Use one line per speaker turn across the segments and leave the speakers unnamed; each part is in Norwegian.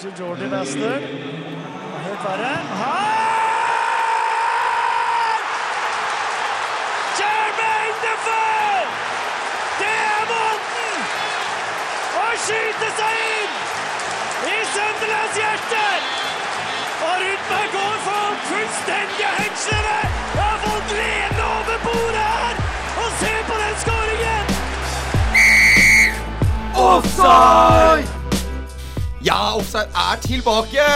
til Jordi Wester. Helt verre. Her! Jermaine Defoe! Det er måten å skyte seg inn i Sunderlands hjerter! Og Rudberg går for fullstendig hengslede! Jeg har fått lene over bordet her! Og se på den skåringen!
Offside! Ja, offside er tilbake!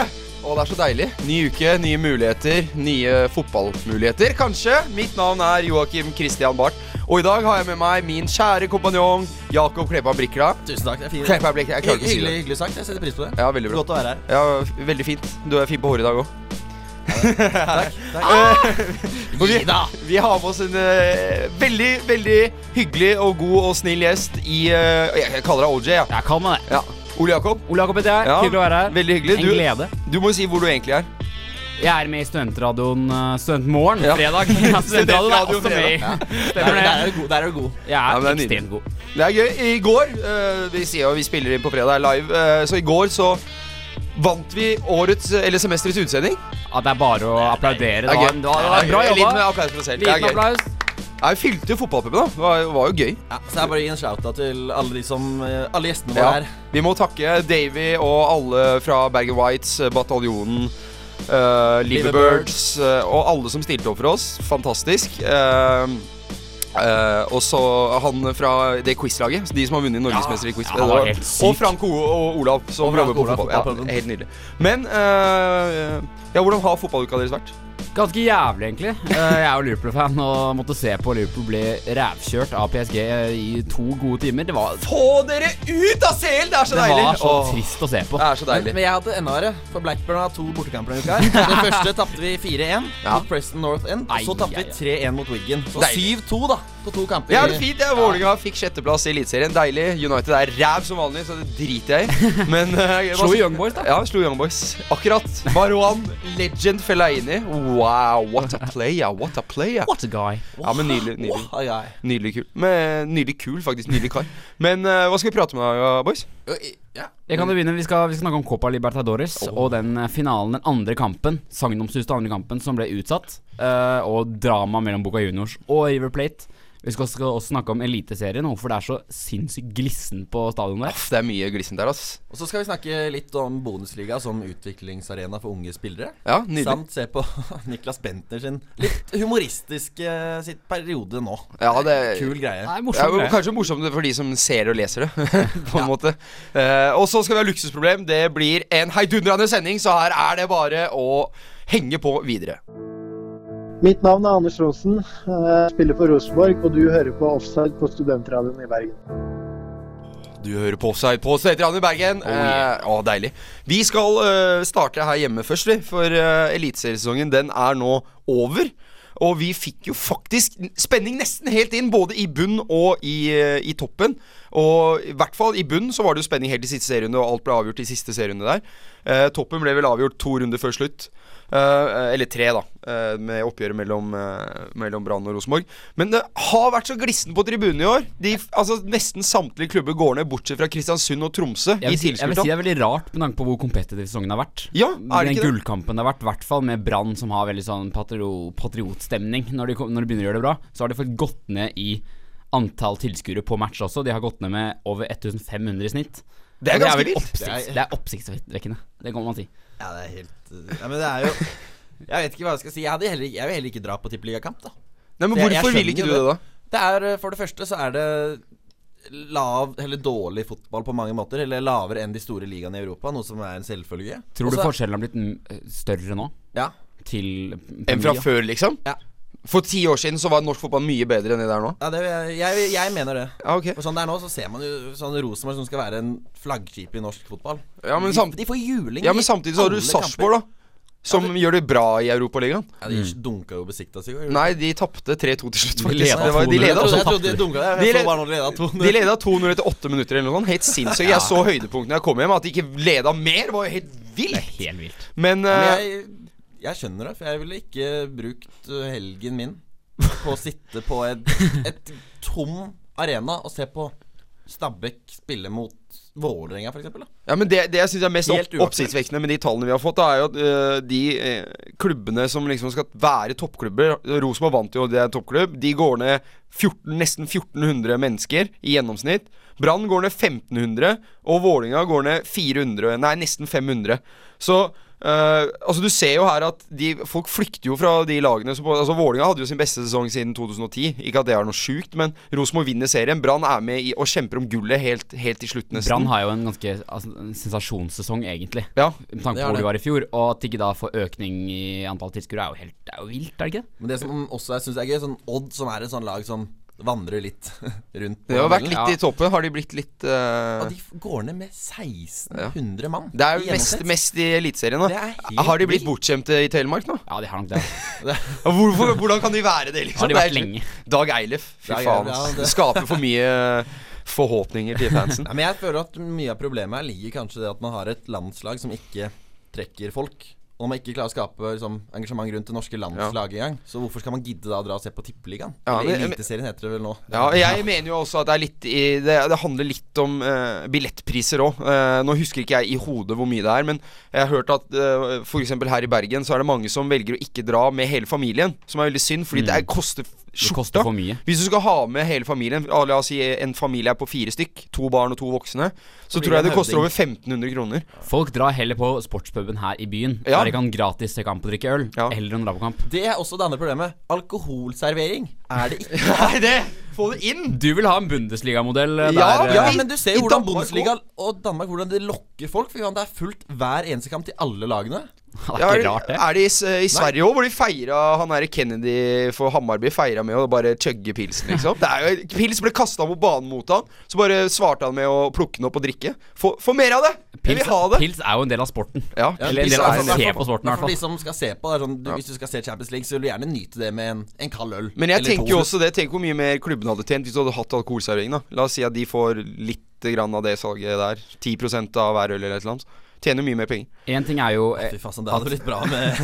Og det er så deilig. Ny uke, nye muligheter. Nye fotballmuligheter, kanskje. Mitt navn er Joakim Christian Barth. Og i dag har jeg med meg min kjære kompanjong Jakob Kleppa Brikla.
Tusen takk. det er fint.
Kleppa Brikla, jeg klarer ikke å si
hyggelig,
det.
hyggelig sagt. Jeg setter pris på det.
Ja, veldig bra.
Godt å være her.
Ja, veldig fint. Du er fin på håret i dag òg.
Takk. takk.
Og vi, vi har med oss en eh, veldig, veldig hyggelig og god og snill gjest i eh, Jeg jeg kaller deg OJ, ja.
Ja, kall meg det.
ja. Ole Jakob,
Ole Jakob heter jeg.
Ja,
Hyggelig å være her.
veldig hyggelig.
En
Du-
glede.
du må si hvor du egentlig er.
Jeg er med i Studentradioen eh, Studentmorgen
Ja.
fredag. Ja, Studentradioen er
Studentradio
også med. i.
Der,
Stemmer
der
det.
er du god. Der er du god.
Jeg er
men det er nydelig.
ekstremt god.
Det er gøy. I går eh, Vi sier jo vi spiller inn på fredag er live, eh, så i går så vant vi årets, eller semesterets utsending.
Ja, det er bare å applaudere.
Det
Det
er
var,
gøy.
det var, det var bra
En Liten
jobba.
applaus for oss selv. Det er
Liten
gøy.
applaus.
Jeg fylte jo fotballpuben, da. Det var, var jo gøy.
Ja, så det er bare å gi en shout-out til alle de som eh, Alle gjestene våre
Ja.
her.
Vi må takke Davy og alle fra Bergen Whites, eh, Bataljonen, uh, Liverbirds eh, og alle som stilte opp for oss. Fantastisk. Eh, eh, og så han fra det quizlaget, de som har vunnet Norgesmester i quiz.
ja, han var
Det var-
helt syk.
og Frank O og Olav, som
Og Frank
jobber på
Olav,
fotball. Ja,
fotballklubben.
helt nydelig. Men eh, ja, hvordan har fotballuka deres vært?
Ganske jævlig, egentlig. Eh, Jeg er jo Liverpool-fan og måtte se på Liverpool bli rævkjørt av PSG eh, i to gode timer. Det var, det
Få dere ut av selen! Det er så deilig!
var så
Åh,
trist å se på.
det er så deilig.
Men, men jeg hadde enda verre, for Blackburn har to bortekamper denne uka. her Den første tapte vi 4-1
Ja.
mot Preston North End. Og så
Ai,
tapte
ai,
vi
ai.
3-1 mot Wigan. Så
Deilig.
7-2 da på to kamper.
Ja, det er fint. det. Vålerenga fikk sjetteplass i Eliteserien. Deilig. United er ræv som vanlig, så det driter jeg i. Men eh,
Slo
hva-
Young Boys, da.
Ja, slo Young Boys. Akkurat. Marwan, legend, Fellaini. Wow, what a player, what a player.
What a guy.
Ja, men nydelig. Nydelig,
Åh, ai, ai.
nydelig kul. Men, nydelig kul, faktisk. Nydelig kar. Men eh, hva skal vi prate med, deg, boys?
Oi, Ja.
Jeg kan jo begynne, vi skal, vi skal snakke om Copa Libertadores og den eh, finalen, den andre kampen, sagnomsuste andre kampen, som ble utsatt. eh, og drama mellom Boca Juniors og River Plate. Vi skal også, også snakke om Eliteserien, og hvorfor det er så sinnssykt glissen på stadionet der.
Aff, det er mye glissent der, ass.
Og så skal vi snakke litt om Bonusliga som utviklingsarena for unge spillere.
Ja, nydelig.
Samt se på Niklas Bentner sin litt humoristiske eh, sitt periode nå.
Ja, det
Kul greie.
Det
Det er
er
morsomt.
jo
det.
kanskje morsomt for de som ser og leser det. på en måte Eh, Og så skal vi ha luksusproblem. Det blir en heidundrende sending, så her er det bare å henge på videre.
Mitt navn er Anders Rosen, eh, spiller for Rosenborg, og du hører på Offside på Studentradioen i Bergen.
Du hører på offside på Støyterand i Bergen.
Oh, yeah.
eh, å, deilig. Vi skal eh, starte her hjemme først, vi. For eh, eliteseriesesongen den er nå over. Og vi fikk jo faktisk n- spenning nesten helt inn, både i bunn og i, eh, i toppen. Og i hvert fall i bunn så var det jo spenning helt i siste serierunde, og alt ble avgjort i siste serierunde der. Eh, toppen ble vel avgjort to runder før slutt. Eh, eller tre, da, eh, med oppgjøret mellom, eh, mellom Brann og Rosenborg. Men det har vært så glissen på tribunen i år. De, f- altså, nesten samtlige klubber går ned, bortsett fra Kristiansund og Tromsø.
Jeg
I
vil, si, jeg vil si
tilskuertall.
det er veldig rart med tanke på hvor kompetitiv sesongen har vært.
Ja, er det
den
ikke det?
gullkampen det har vært, i hvert fall med Brann, som har veldig sånn patrio, patriotstemning når de, kom- når de begynner å gjøre det bra. Så har de fått gått ned i antall tilskuere på match også. De har gått ned med over 1500 i snitt.
Det er
Og
ganske
vel
vilt.
oppsikts-
Det er-
Det er oppsiktsvekkende. Det kan man si.
Ja, det er helt eh, Ja, men det er jo Jeg vet ikke hva jeg skal si. Jeg, hadde heller, jeg vil heller ikke dra på tippeligakamp, da.
Nei, men
Jeg- jeg
Hvorfor vil
skjønner
ikke du
jo
det, da?
Det er eh, For det første så er det lav eller dårlig fotball på mange måter. Eller lavere enn de store ligaene i Europa, noe som er en selvfølge.
Tror du
Også-
forskjellen har blitt mm, større nå?
Ja.
Til
Enn fra før, liksom?
Ja.
For ti år siden så var norsk fotball mye bedre enn det der nå.
ja det, jeg, jeg, jeg mener det.
Ja, ok
For sånn det er nå, så ser man jo sånn Rosenborg som skal være en flaggskip i norsk fotball.
Ja, men
de,
samt-
de får juling.
Ja, Men samtidig så har du Sarpsborg, da. Som gjør det bra i Europaligaen.
Ja, de dunka jo besikta seg i går.
Nei, de tapte 3-2 til slutt,
De
faktisk.
leda
Det var- De
2-0.
Jeg
leda
trodde, jeg
tapte
trodde de
de.
dunka
De
Jeg
led-
så bare når de leda to.
De leda 2-0 etter 8 minutter eller noe sånt. Helt sinnssykt. Jeg så høydepunktene jeg kom hjem. At de ikke leda mer, var jo helt
Det er
vilt.
helt vilt.
Men
Men
eh,
jeg, jeg skjønner det, for jeg ville ikke brukt eh, helgen min på å sitte på et, et tom arena og se på Stabæk spille mot Vålerenga, f.eks.?
Ja, men Det, det jeg syns er mest
Helt
opp,
uaktuelt.
oppsiktsvekkende med de tallene vi har fått, da, er jo at øh, de eh, klubbene som liksom skal være toppklubber Rosenborg vant jo, det er en toppklubb. De går ned 14, nesten 1400 mennesker i gjennomsnitt. Brann går ned 1500, og Vålinga går ned 400, nei, nesten 500. Så øh, altså Du ser jo her at de, folk flykter jo fra de lagene som Altså Vålinga hadde jo sin beste sesong siden 2010. Ikke at det er noe sjukt, men Rosenborg vinner serien. Brann er med i, og kjemper om gullet helt, helt til slutt, nesten.
Brann har jo en ganske altså, en sensasjonssesong, egentlig.
Ja.
Med tanke
Det er
på hvor
det.
de var i fjor. Og at de ikke da får økning i antall tilskuere, er jo helt det er jo vilt, er det ikke? det?
Men det som også jeg syns er gøy, sånn Odd, som er et sånn lag som vandrer litt rundt på
Det har vært
tabellen.
litt
Ja.
i toppen. Har de blitt litt eh,
Og de f- går ned med 1600 mann.
Det er
i
jo mest,
gjennomsnitt.
mest i Eliteserien.
Det
da.
er helt
Har de blitt
vilt.
bortskjemte i Telemark nå?
Ja, de har nok det. altså.
Ja, Hvorfor, hvordan kan de være det, liksom?
Har de
Det
vært
er-
lenge?
Dag Eilef. Fy
Dag
faen.
Eilef, ja,
ass.
det-
det skaper for mye forhåpninger til fansen.
Nei, men jeg føler at mye av problemet her ligger kanskje i det at man har et landslag som ikke trekker folk. Og når man ikke klarer å skape liksom, engasjement rundt det norske landslaget engang, så hvorfor skal man gidde da å dra og se på Tippeligaen?
Ja,
Eller
men-
Eliteserien heter det vel nå.
Ja, og jeg mener jo også at det er litt i, det, det handler litt om eh, billettpriser òg. nå husker ikke jeg i hodet hvor mye det er, men jeg har hørt at eh, for f.eks. her i Bergen så er det mange som velger å ikke dra med hele familien, som er veldig synd, fordi det er, koster skjorta.
Mm. koster for mye.
Hvis du skal ha med hele familien, ah, la oss si en familie er på fire stykk, to barn og to voksne, så
blir
tror jeg
det
det koster
høvding.
over 1500 kroner.
Folk drar heller på sportspuben her i byen,
Ja.
der de kan gratis se kamp og drikke øl,
Ja.
heller enn å dra på kamp.
Det er også det andre problemet. Alkoholservering er det ikke.
Nei, det! Få det inn!
Du vil ha en Bundesliga-modell eh,
Ja,
der eh,
Ja,
i-
men du ser
i
jo hvordan
Danmark
Bundesliga og Danmark hvordan det lokker folk. For det er fullt hver eneste kamp til alle lagene.
Det er ikke
Ja,
rart, det.
Er det i, s- i Sverige òg, hvor de feira han der Kennedy for Hammarby feira med å bare chugge pilsen, liksom? Det er jo, pils ble kasta på banen mot han, så bare svarte han med å plukke den opp og drikke. Få, få mer av det! Jeg
Pils,
vil ha det!
pils er jo en del av sporten.
Ja,
Eller en
pils
del av
er en
å
del.
se på sporten,
Men
i hvert
for de
fall.
som skal se på det, er sånn, du, Hvis du skal se Champions League, så vil du gjerne nyte det med en, en kald øl.
Men jeg
eller
tenker
to.
jo også det, tenk hvor mye mer klubbene hadde tjent hvis du hadde hatt alkoholservering. da La oss si at de får litt grann av det salget der. 10 av hver øl eller et eller annet. Tjener mye mer penger.
En ting er jo eh,
Fy faen, det hadde blitt bra med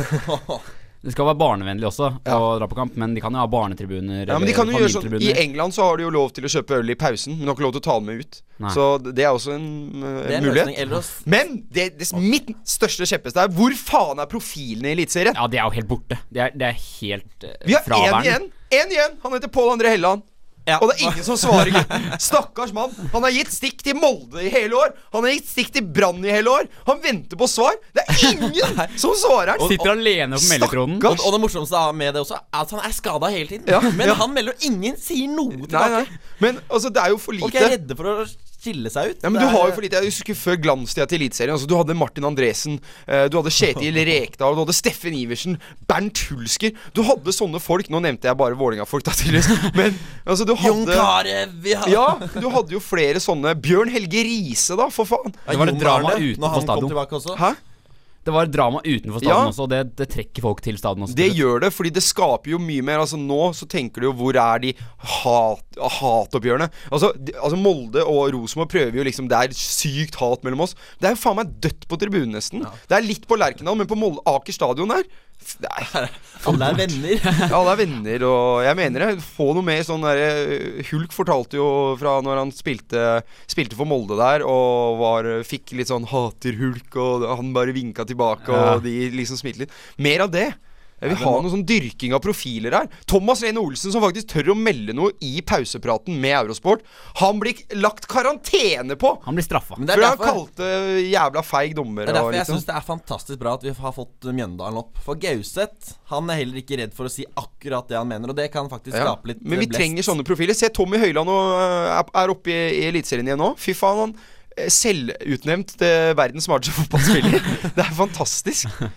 Det skal være barnevennlig også å dra på kamp, men de kan jo ha barnetribuner
Ja, men de
eller
kan jo gjøre sånn I
familietribuner.
England så har de jo lov til å kjøpe øl i pausen, men de har ikke lov til å ta den med ut.
Nei.
Så det er også en, eh,
Det er en
mulighet.
løsning. Ellers
Men det, det, mitt største kjepphest er hvor faen er profilene i Eliteserien?
Ja, de er jo helt borte. Det er, det er helt eh,
Vi har én
fraværende.
igjen. Én igjen! Han heter Pål André Helland.
Ja.
Og det er ingen som svarer, gutten. Stakkars mann. Han har gitt stikk til Molde i hele år. Han har gitt stikk til Brann i hele år. Han venter på svar. Det er ingen som svarer han.
Sitter alene på meldetronen.
Stakkars-
og, og det morsomste med det også er at han er skada hele tiden.
Ja,
men
ja.
han melder jo ingen sier noe
Nei,
tilbake.
nei. Men altså, det er jo for lite.
Folk er redde for å skille seg ut.
Ja, men
Det
du har
er-
jo for lite Jeg husker før glanstida til Eliteserien. Altså, du hadde Martin Andresen, eh, du hadde Kjetil Rekdal, du hadde Steffen Iversen, Bernt Hulsker Du hadde sånne folk. Nå nevnte jeg bare Vålerenga-folk, da, tydeligvis. Men altså, du
Jon
hadde
Carew vi har-
Ja, du hadde jo flere sånne. Bjørn Helge Riise, da, for faen.
Ja,
Det var et
Jon
drama
Arne,
utenfor
når han
stadion.
Kom tilbake også.
Hæ?
Det var et drama utenfor staden
Ja.
også, og det, det trekker folk til staden også.
Det gjør det, fordi det skaper jo mye mer. Altså Nå så tenker du jo hvor er de hat, hatoppgjørene? Altså, de, altså Molde og Rosenborg prøver jo liksom Det er sykt hat mellom oss. Det er jo faen meg dødt på tribunen, nesten. Det er litt på Lerkendal, men på Molde Aker stadion der f- det er-
Alle er venner.
Alle er venner, og jeg mener det. Få noe mer sånn derre Hulk fortalte jo fra når han spilte, spilte for Molde der, og var, fikk litt sånn 'hater Hulk', og han bare vinka tilbake, og de liksom smilte litt. Mer av det. Jeg vil ha noe sånn dyrking av profiler her. Thomas Lene Olsen, som faktisk tør å melde noe i pausepraten med Eurosport, han blir lagt karantene på!
Han blir straffa.
Men det er
For han
derfor,
kalte jævla feig dommer
det er derfor
og
jeg
litt sånn.
syns det er fantastisk bra at vi har fått Mjøndalen opp. For Gauseth han er heller ikke redd for å si akkurat det han mener, og det kan faktisk
Ja.
skape litt eh,
Men vi
blest.
trenger sånne profiler. Se, Tommy Høiland og, øh, er- er oppe i, i Eliteserien igjen nå. Fy faen, han eh, selvutnevnt til verdens smarteste fotballspiller. det er fantastisk.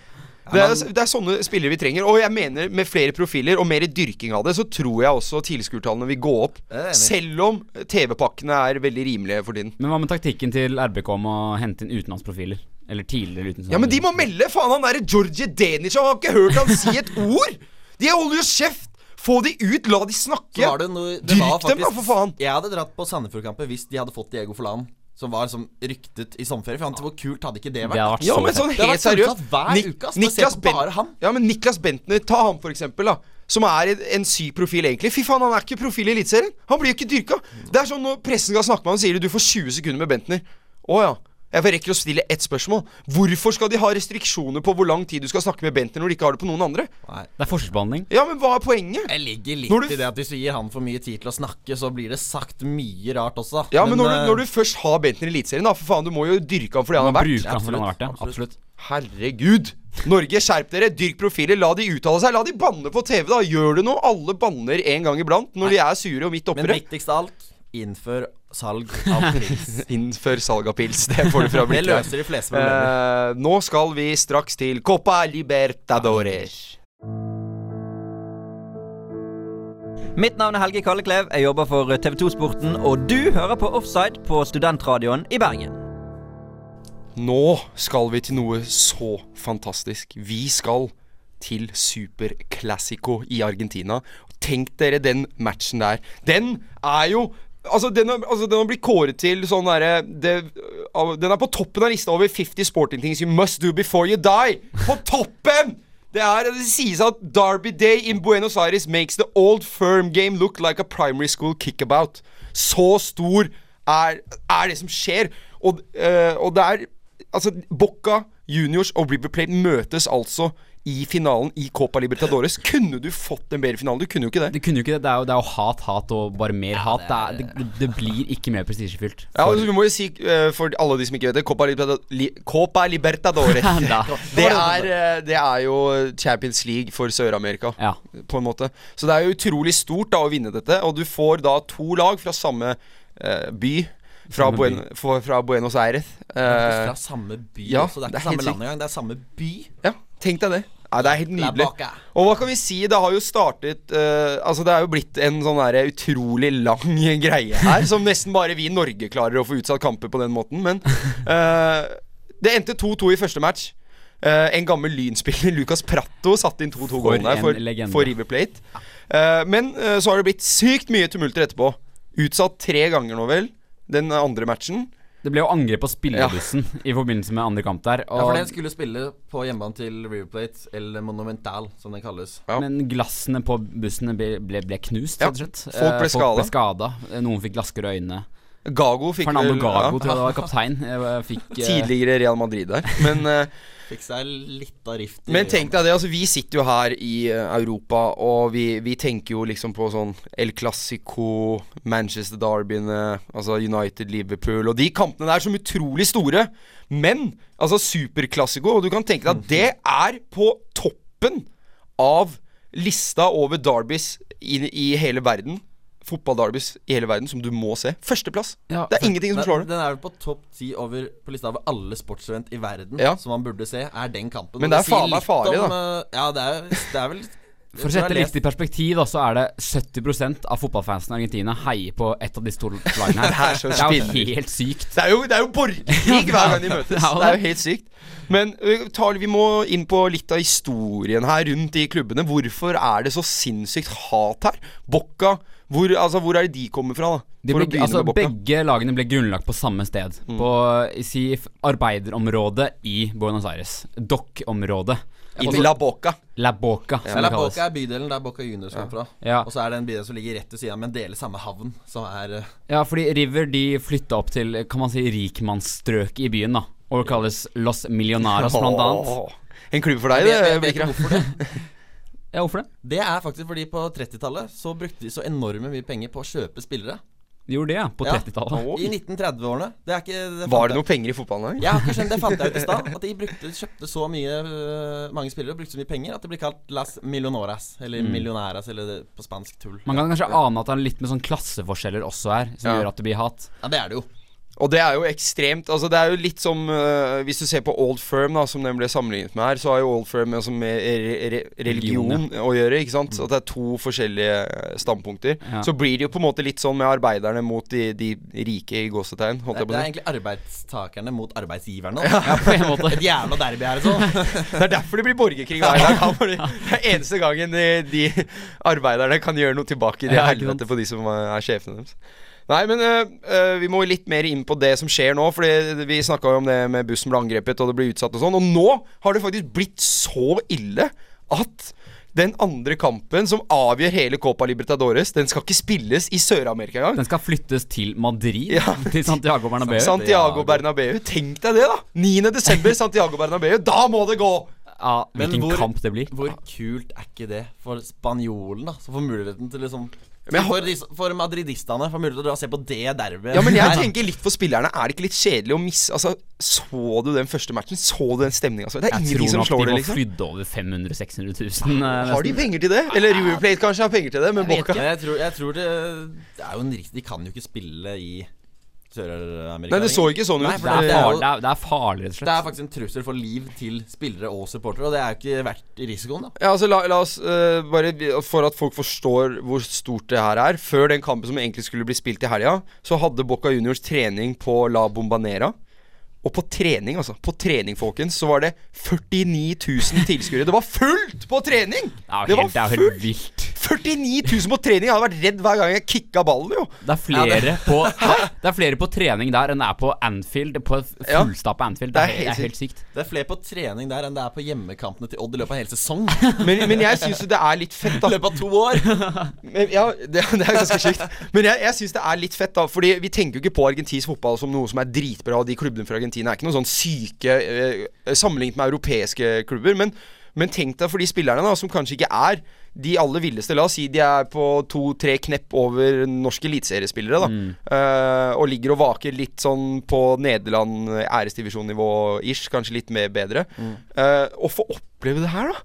Det er, det er sånne spillere vi trenger. Og jeg mener med flere profiler og mer dyrking av det, så tror jeg også tilskuertallene vil gå opp.
Jeg er enig.
Selv om eh, TV-pakkene er veldig rimelige for tiden.
Men hva med taktikken til RBK om å hente inn utenlandsprofiler? Eller tidligere utenlandsprofiler?
Ja, men de må melde! Faen, han derre Georgie Denic, han har ikke hørt han si et ord! De holder jo kjeft! Få de ut, la de snakke!
Så var det noe det
Dyrk
var
dem da,
faktisk-
for faen!
Jeg hadde dratt på Sandefjord-kampen hvis de hadde fått Diego Forlan, som var som ryktet i sommerferie. For han, hvor kult hadde ikke det vært?
Det hadde vært
Ja,
så
men
fett.
sånn
Det har
helt
vært
seriøst
utsatt hver
Nik-
uke, ass. Man ser på
Bent-
bare ham.
Ja, men Niklas Bentner, ta ham for eksempel da som er en- en syk profil, egentlig. Fy faen, han er ikke profil i Eliteserien! Han blir jo ikke dyrka! Det er sånn når pressen skal snakke med ham, sier de du får 20 sekunder med Bentner. Å ja. Jeg rekker å stille ett spørsmål. Hvorfor skal de ha restriksjoner på hvor lang tid du skal snakke med Bentner når de ikke har det på noen andre?
Nei.
Det er forskjellsbehandling.
Ja, men hva er poenget?
Jeg ligger
Når du-
litt i det at hvis du gir han for mye tid til å snakke, så blir det sagt mye rart også.
Ja, men, når,
eh,
du, når du først har Bentner i Eliteserien, da, for faen, du må jo dyrke ham for det han er
Man
verdt.
bruker han som han har vært det.
absolutt.
Absolutt.
Herregud! Norge, skjerp dere! Dyrk profiler, la de uttale seg! La de banne på TV, da! Gjør det noe! Alle banner en gang iblant når de er sure og midt
Men
opprørt.
viktigst av alt, innfør salg av pils.
Innfør salg av pils. Det får du fra
Det
blikket.
løser de fleste problemer.
Eh, nå skal vi straks til Copa Libertadores.
Mitt navn er Helge Kalleklev, jeg jobber for eh, TV2 Sporten, og du hører på Offside på Studentradioen i Bergen.
Nå skal vi til noe så fantastisk. Vi skal til Super Classico i Argentina. Tenk dere den matchen der. Den er jo Altså, den har, altså, den har blitt kåret til sånn derre det- av- Den er på toppen av lista over 50 sporting things you must do before you die. På toppen! Det er, det sies at Derby Day in Buenos Aires makes the old firm game look like a primary school kickabout. Så stor er, er det som skjer. Og, eh, og det er Altså, Boca Juniors og River Plate møtes altså i finalen i Copa Libertadores. Kunne du fått en bedre finale? Du kunne jo ikke det.
Det kunne jo ikke det. Det er jo, det er jo hat, hat og bare mer hat. Det, er, det, det blir ikke mer prestisjefylt.
Ja, altså, vi må jo si, eh, for alle de som ikke vet det, Copa, Libertad Li Copa Libertadores.
Da.
det, er, eh, det er jo Champions League for Sør-Amerika,
Ja.
på en måte. Så det er jo utrolig stort da å vinne dette, og du får da to lag fra samme eh, by. Fra,
Samme by.
Buen fra, fra Buenos Aires. Eh,
Fra samme by
ja,
også. Det er
det er helt
ikke samme
sykt.
land engang, det er samme by.
Ja, tenk deg det. Nei, det er helt
La
nydelig.
Boca.
Og hva kan vi si? Det har jo startet eh, Altså, det er jo blitt en sånn der utrolig lang greie her, som nesten bare vi i Norge klarer å få utsatt kamper på den måten, men eh, Det endte 2-2 i første match. Eh, en gammel lynspiller, Lucas Pratto, satte inn 2-2
For
gålen der
en
for,
legende.
for River Plate. Eh, men eh, så har det blitt sykt mye tumulter etterpå. Utsatt tre ganger nå, vel. Den andre matchen.
Det ble jo angrep på spillebussen i forbindelse med andre kamp der.
Ja, for
Og,
den skulle spille på hjemmebane til River Plate, eller Monumental, som den kalles.
ja.
Men glassene på bussene ble, ble, ble knust,
Ja,
rett og
folk
slett.
ble
Eh, folk ble skada. Noen fikk glasker i øynene.
Gago fikk
Fernando
vel-
Gago,
ja,
tror jeg det var kaptein. eh, Fikk, eh,
Tidligere Real Madrid der. Men eh,
Fikk seg litt av rift i
Men tenk deg det, altså vi sitter jo her i eh, Europa, og vi, vi tenker jo liksom på sånn El Clasico, Manchester Derbyene, altså United Liverpool, og de kampene der som utrolig store. Men altså Superklassiko, og du kan tenke deg at det er på toppen av lista over derbys i, i hele verden. Fotball-derbys i hele verden som du må se. Førsteplass!
Ja,
det er ingenting som
Den-
slår det.
Den er vel på topp ti over på lista over alle sportsevent i verden
Ja.
som man burde se, er den kampen.
Men
Og
det er faen meg
litt
farlig,
om, eh, Ja, det er, det er vel
For å sette det litt i perspektiv, da, så er det 70 av fotballfansen i Argentina heier på et av disse to lagene her.
Det er så
det er
spinnvilt.
jo helt sykt.
Det er jo, det er jo borgerkrig hver gang de møtes. Det
Ja, det
er
er jo
jo helt sykt. Men ø, tar, vi må inn på litt av historien her rundt de klubbene. Hvorfor er det så sinnssykt hat her? Bocca, hvor, altså, hvor er det de kommer fra, da?
De
For
ble,
å begynne med
altså,
Mm. Bocca.
begge lagene ble grunnlagt på samme sted. På eh, si, f- arbeiderområdet i Buenos Aires. Dokk-området. Altså,
I La Bocca.
La Boca, som
La
det kalles.
Boca er bydelen der Boca Juniors kom fra.
Ja.
Og så er det en bydel som ligger rett ved siden av, men deler samme havn, som er eh,
Ja, fordi River de flytta opp til kan man si, rikmannsstrøket i byen. da Og det kalles Los Millionaras, blant annet.
Åh, En klubb for deg,
Jeg
det,
vet- jeg vet ikke
Blikra.
hvorfor det.
Ja, hvorfor det?
Det er faktisk fordi på 30-tallet så brukte de så enorme mye penger på å kjøpe spillere.
De gjorde det, ja. På
Ja.
30-tallet.
Oi.
I 1930-årene. Det er ikke det
Var det noe penger i fotballen der?
Jeg har ikke skjønt, Det fant jeg ut i stad. At de brukte, kjøpte så mye øh, mange spillere og brukte så mye penger at det blir kalt Las Millonoras. Eller Millioneras, eller det, på spansk tull.
Mm. Man kan kanskje ane at det er litt med sånn klasseforskjeller også her, som
Ja.
gjør at det blir hat.
Ja, det er det jo.
Og det er jo ekstremt Altså Det er jo litt som øh, Hvis du ser på Old Firm, da som den ble sammenlignet med her, så har jo Old Firm altså, med re re religion
Religion,
å gjøre. Ikke sant? At det er to forskjellige øh, standpunkter.
Ja.
Så blir det jo på en måte litt sånn med arbeiderne mot de, de rike, i gåsetegn. Holdt
Det,
jeg
det
på å
er
si.
egentlig arbeidstakerne mot arbeidsgiverne. Ja.
På en måte.
Et jævla derby her, altså.
Det er derfor det blir borgerkrig hver dag. da, fordi Det er eneste gangen de, de arbeiderne kan gjøre noe tilbake i det
Ja, ikke sant?
helvete for de som eh, er er sjefene deres. Nei, men øh, øh, vi må litt mer inn på det som skjer nå. Fordi vi snakka jo om det med bussen ble angrepet, og det ble utsatt og sånn. Og nå har det faktisk blitt så ille at den andre kampen som avgjør hele Copa Libertadores, den skal ikke spilles i Sør-Amerika engang.
Den skal flyttes til Madrid.
Ja.
Til Santiago Bernabeu.
Santiago Bernabeu. Tenk deg det, da! 9. desember, Santiago Bernabeu. Da må det gå!
Ja, hvilken
Men hvor-
kamp det blir.
Hvor kult er ikke det for spanjolen, da? Som får muligheten til liksom
Men jeg
for, dis- for madridistene får mulighet til å dra og se på det derbyet.
Ja, men jeg
Her.
tenker litt for spillerne. Er det ikke litt kjedelig å misse Altså, så du den første matchen? Så du den stemninga? Altså? Det er
Jeg
ingenting
tror
som
nok de
slår det,
må
liksom.
flydde over 500 000-600 000. eh,
Har de penger til det? Eller River Plate kanskje har penger til det, men
Jeg vet
Boca
Men jeg tror, jeg tror det, det er jo en risk De kan jo ikke spille i Sør-Amerika.
Nei, det så
lenger.
ikke sånn
Nei,
ut.
for det
Det
Eh,
er
er
jo-
farlig, det er- det er farlig,
Det
rett og slett.
er faktisk en trussel for liv til spillere og supportere, og det er jo ikke verdt risikoen, da.
Ja, altså la, la oss eh, bare vi- For at folk forstår hvor stort det her er Før den kampen som egentlig skulle bli spilt i helga, så hadde Boca Juniors trening på La Bombanera. Og på trening, altså. På trening, folkens, så var det 49 000 tilskuere. Det var fullt på trening!
Det er jo helt, det er jo helt vilt.
49 000 på trening! Jeg hadde vært redd hver gang jeg kicka ballen, jo.
Det er flere, på, det er flere på trening der enn det er på Anfield. På et
Ja.
fullstappa Anfield. Det er, helt, det er helt sykt.
Det er flere på trening der enn det er på hjemmekampene til Odd i løpet av en hel sesong.
Men, men jeg syns jo det er litt fett,
I
da.
løpet av to år.
Men, ja, det, det er ganske sykt. Men jeg, jeg syns det er litt fett, da. Fordi vi tenker jo ikke på argentinsk fotball som noe som er dritbra, og de klubbene fra Argentina er ikke noen sånn syke eh, sammenlignet med europeiske klubber. Men, men tenk deg for de spillerne, da, som kanskje ikke er de aller villeste. La oss si de er på to-tre knepp over norske eliteseriespillere, da. eh, og ligger og vaker litt sånn på Nederland, eh, æresdivisjonnivå-ish, kanskje litt mer bedre. Eh, å få oppleve det her, da.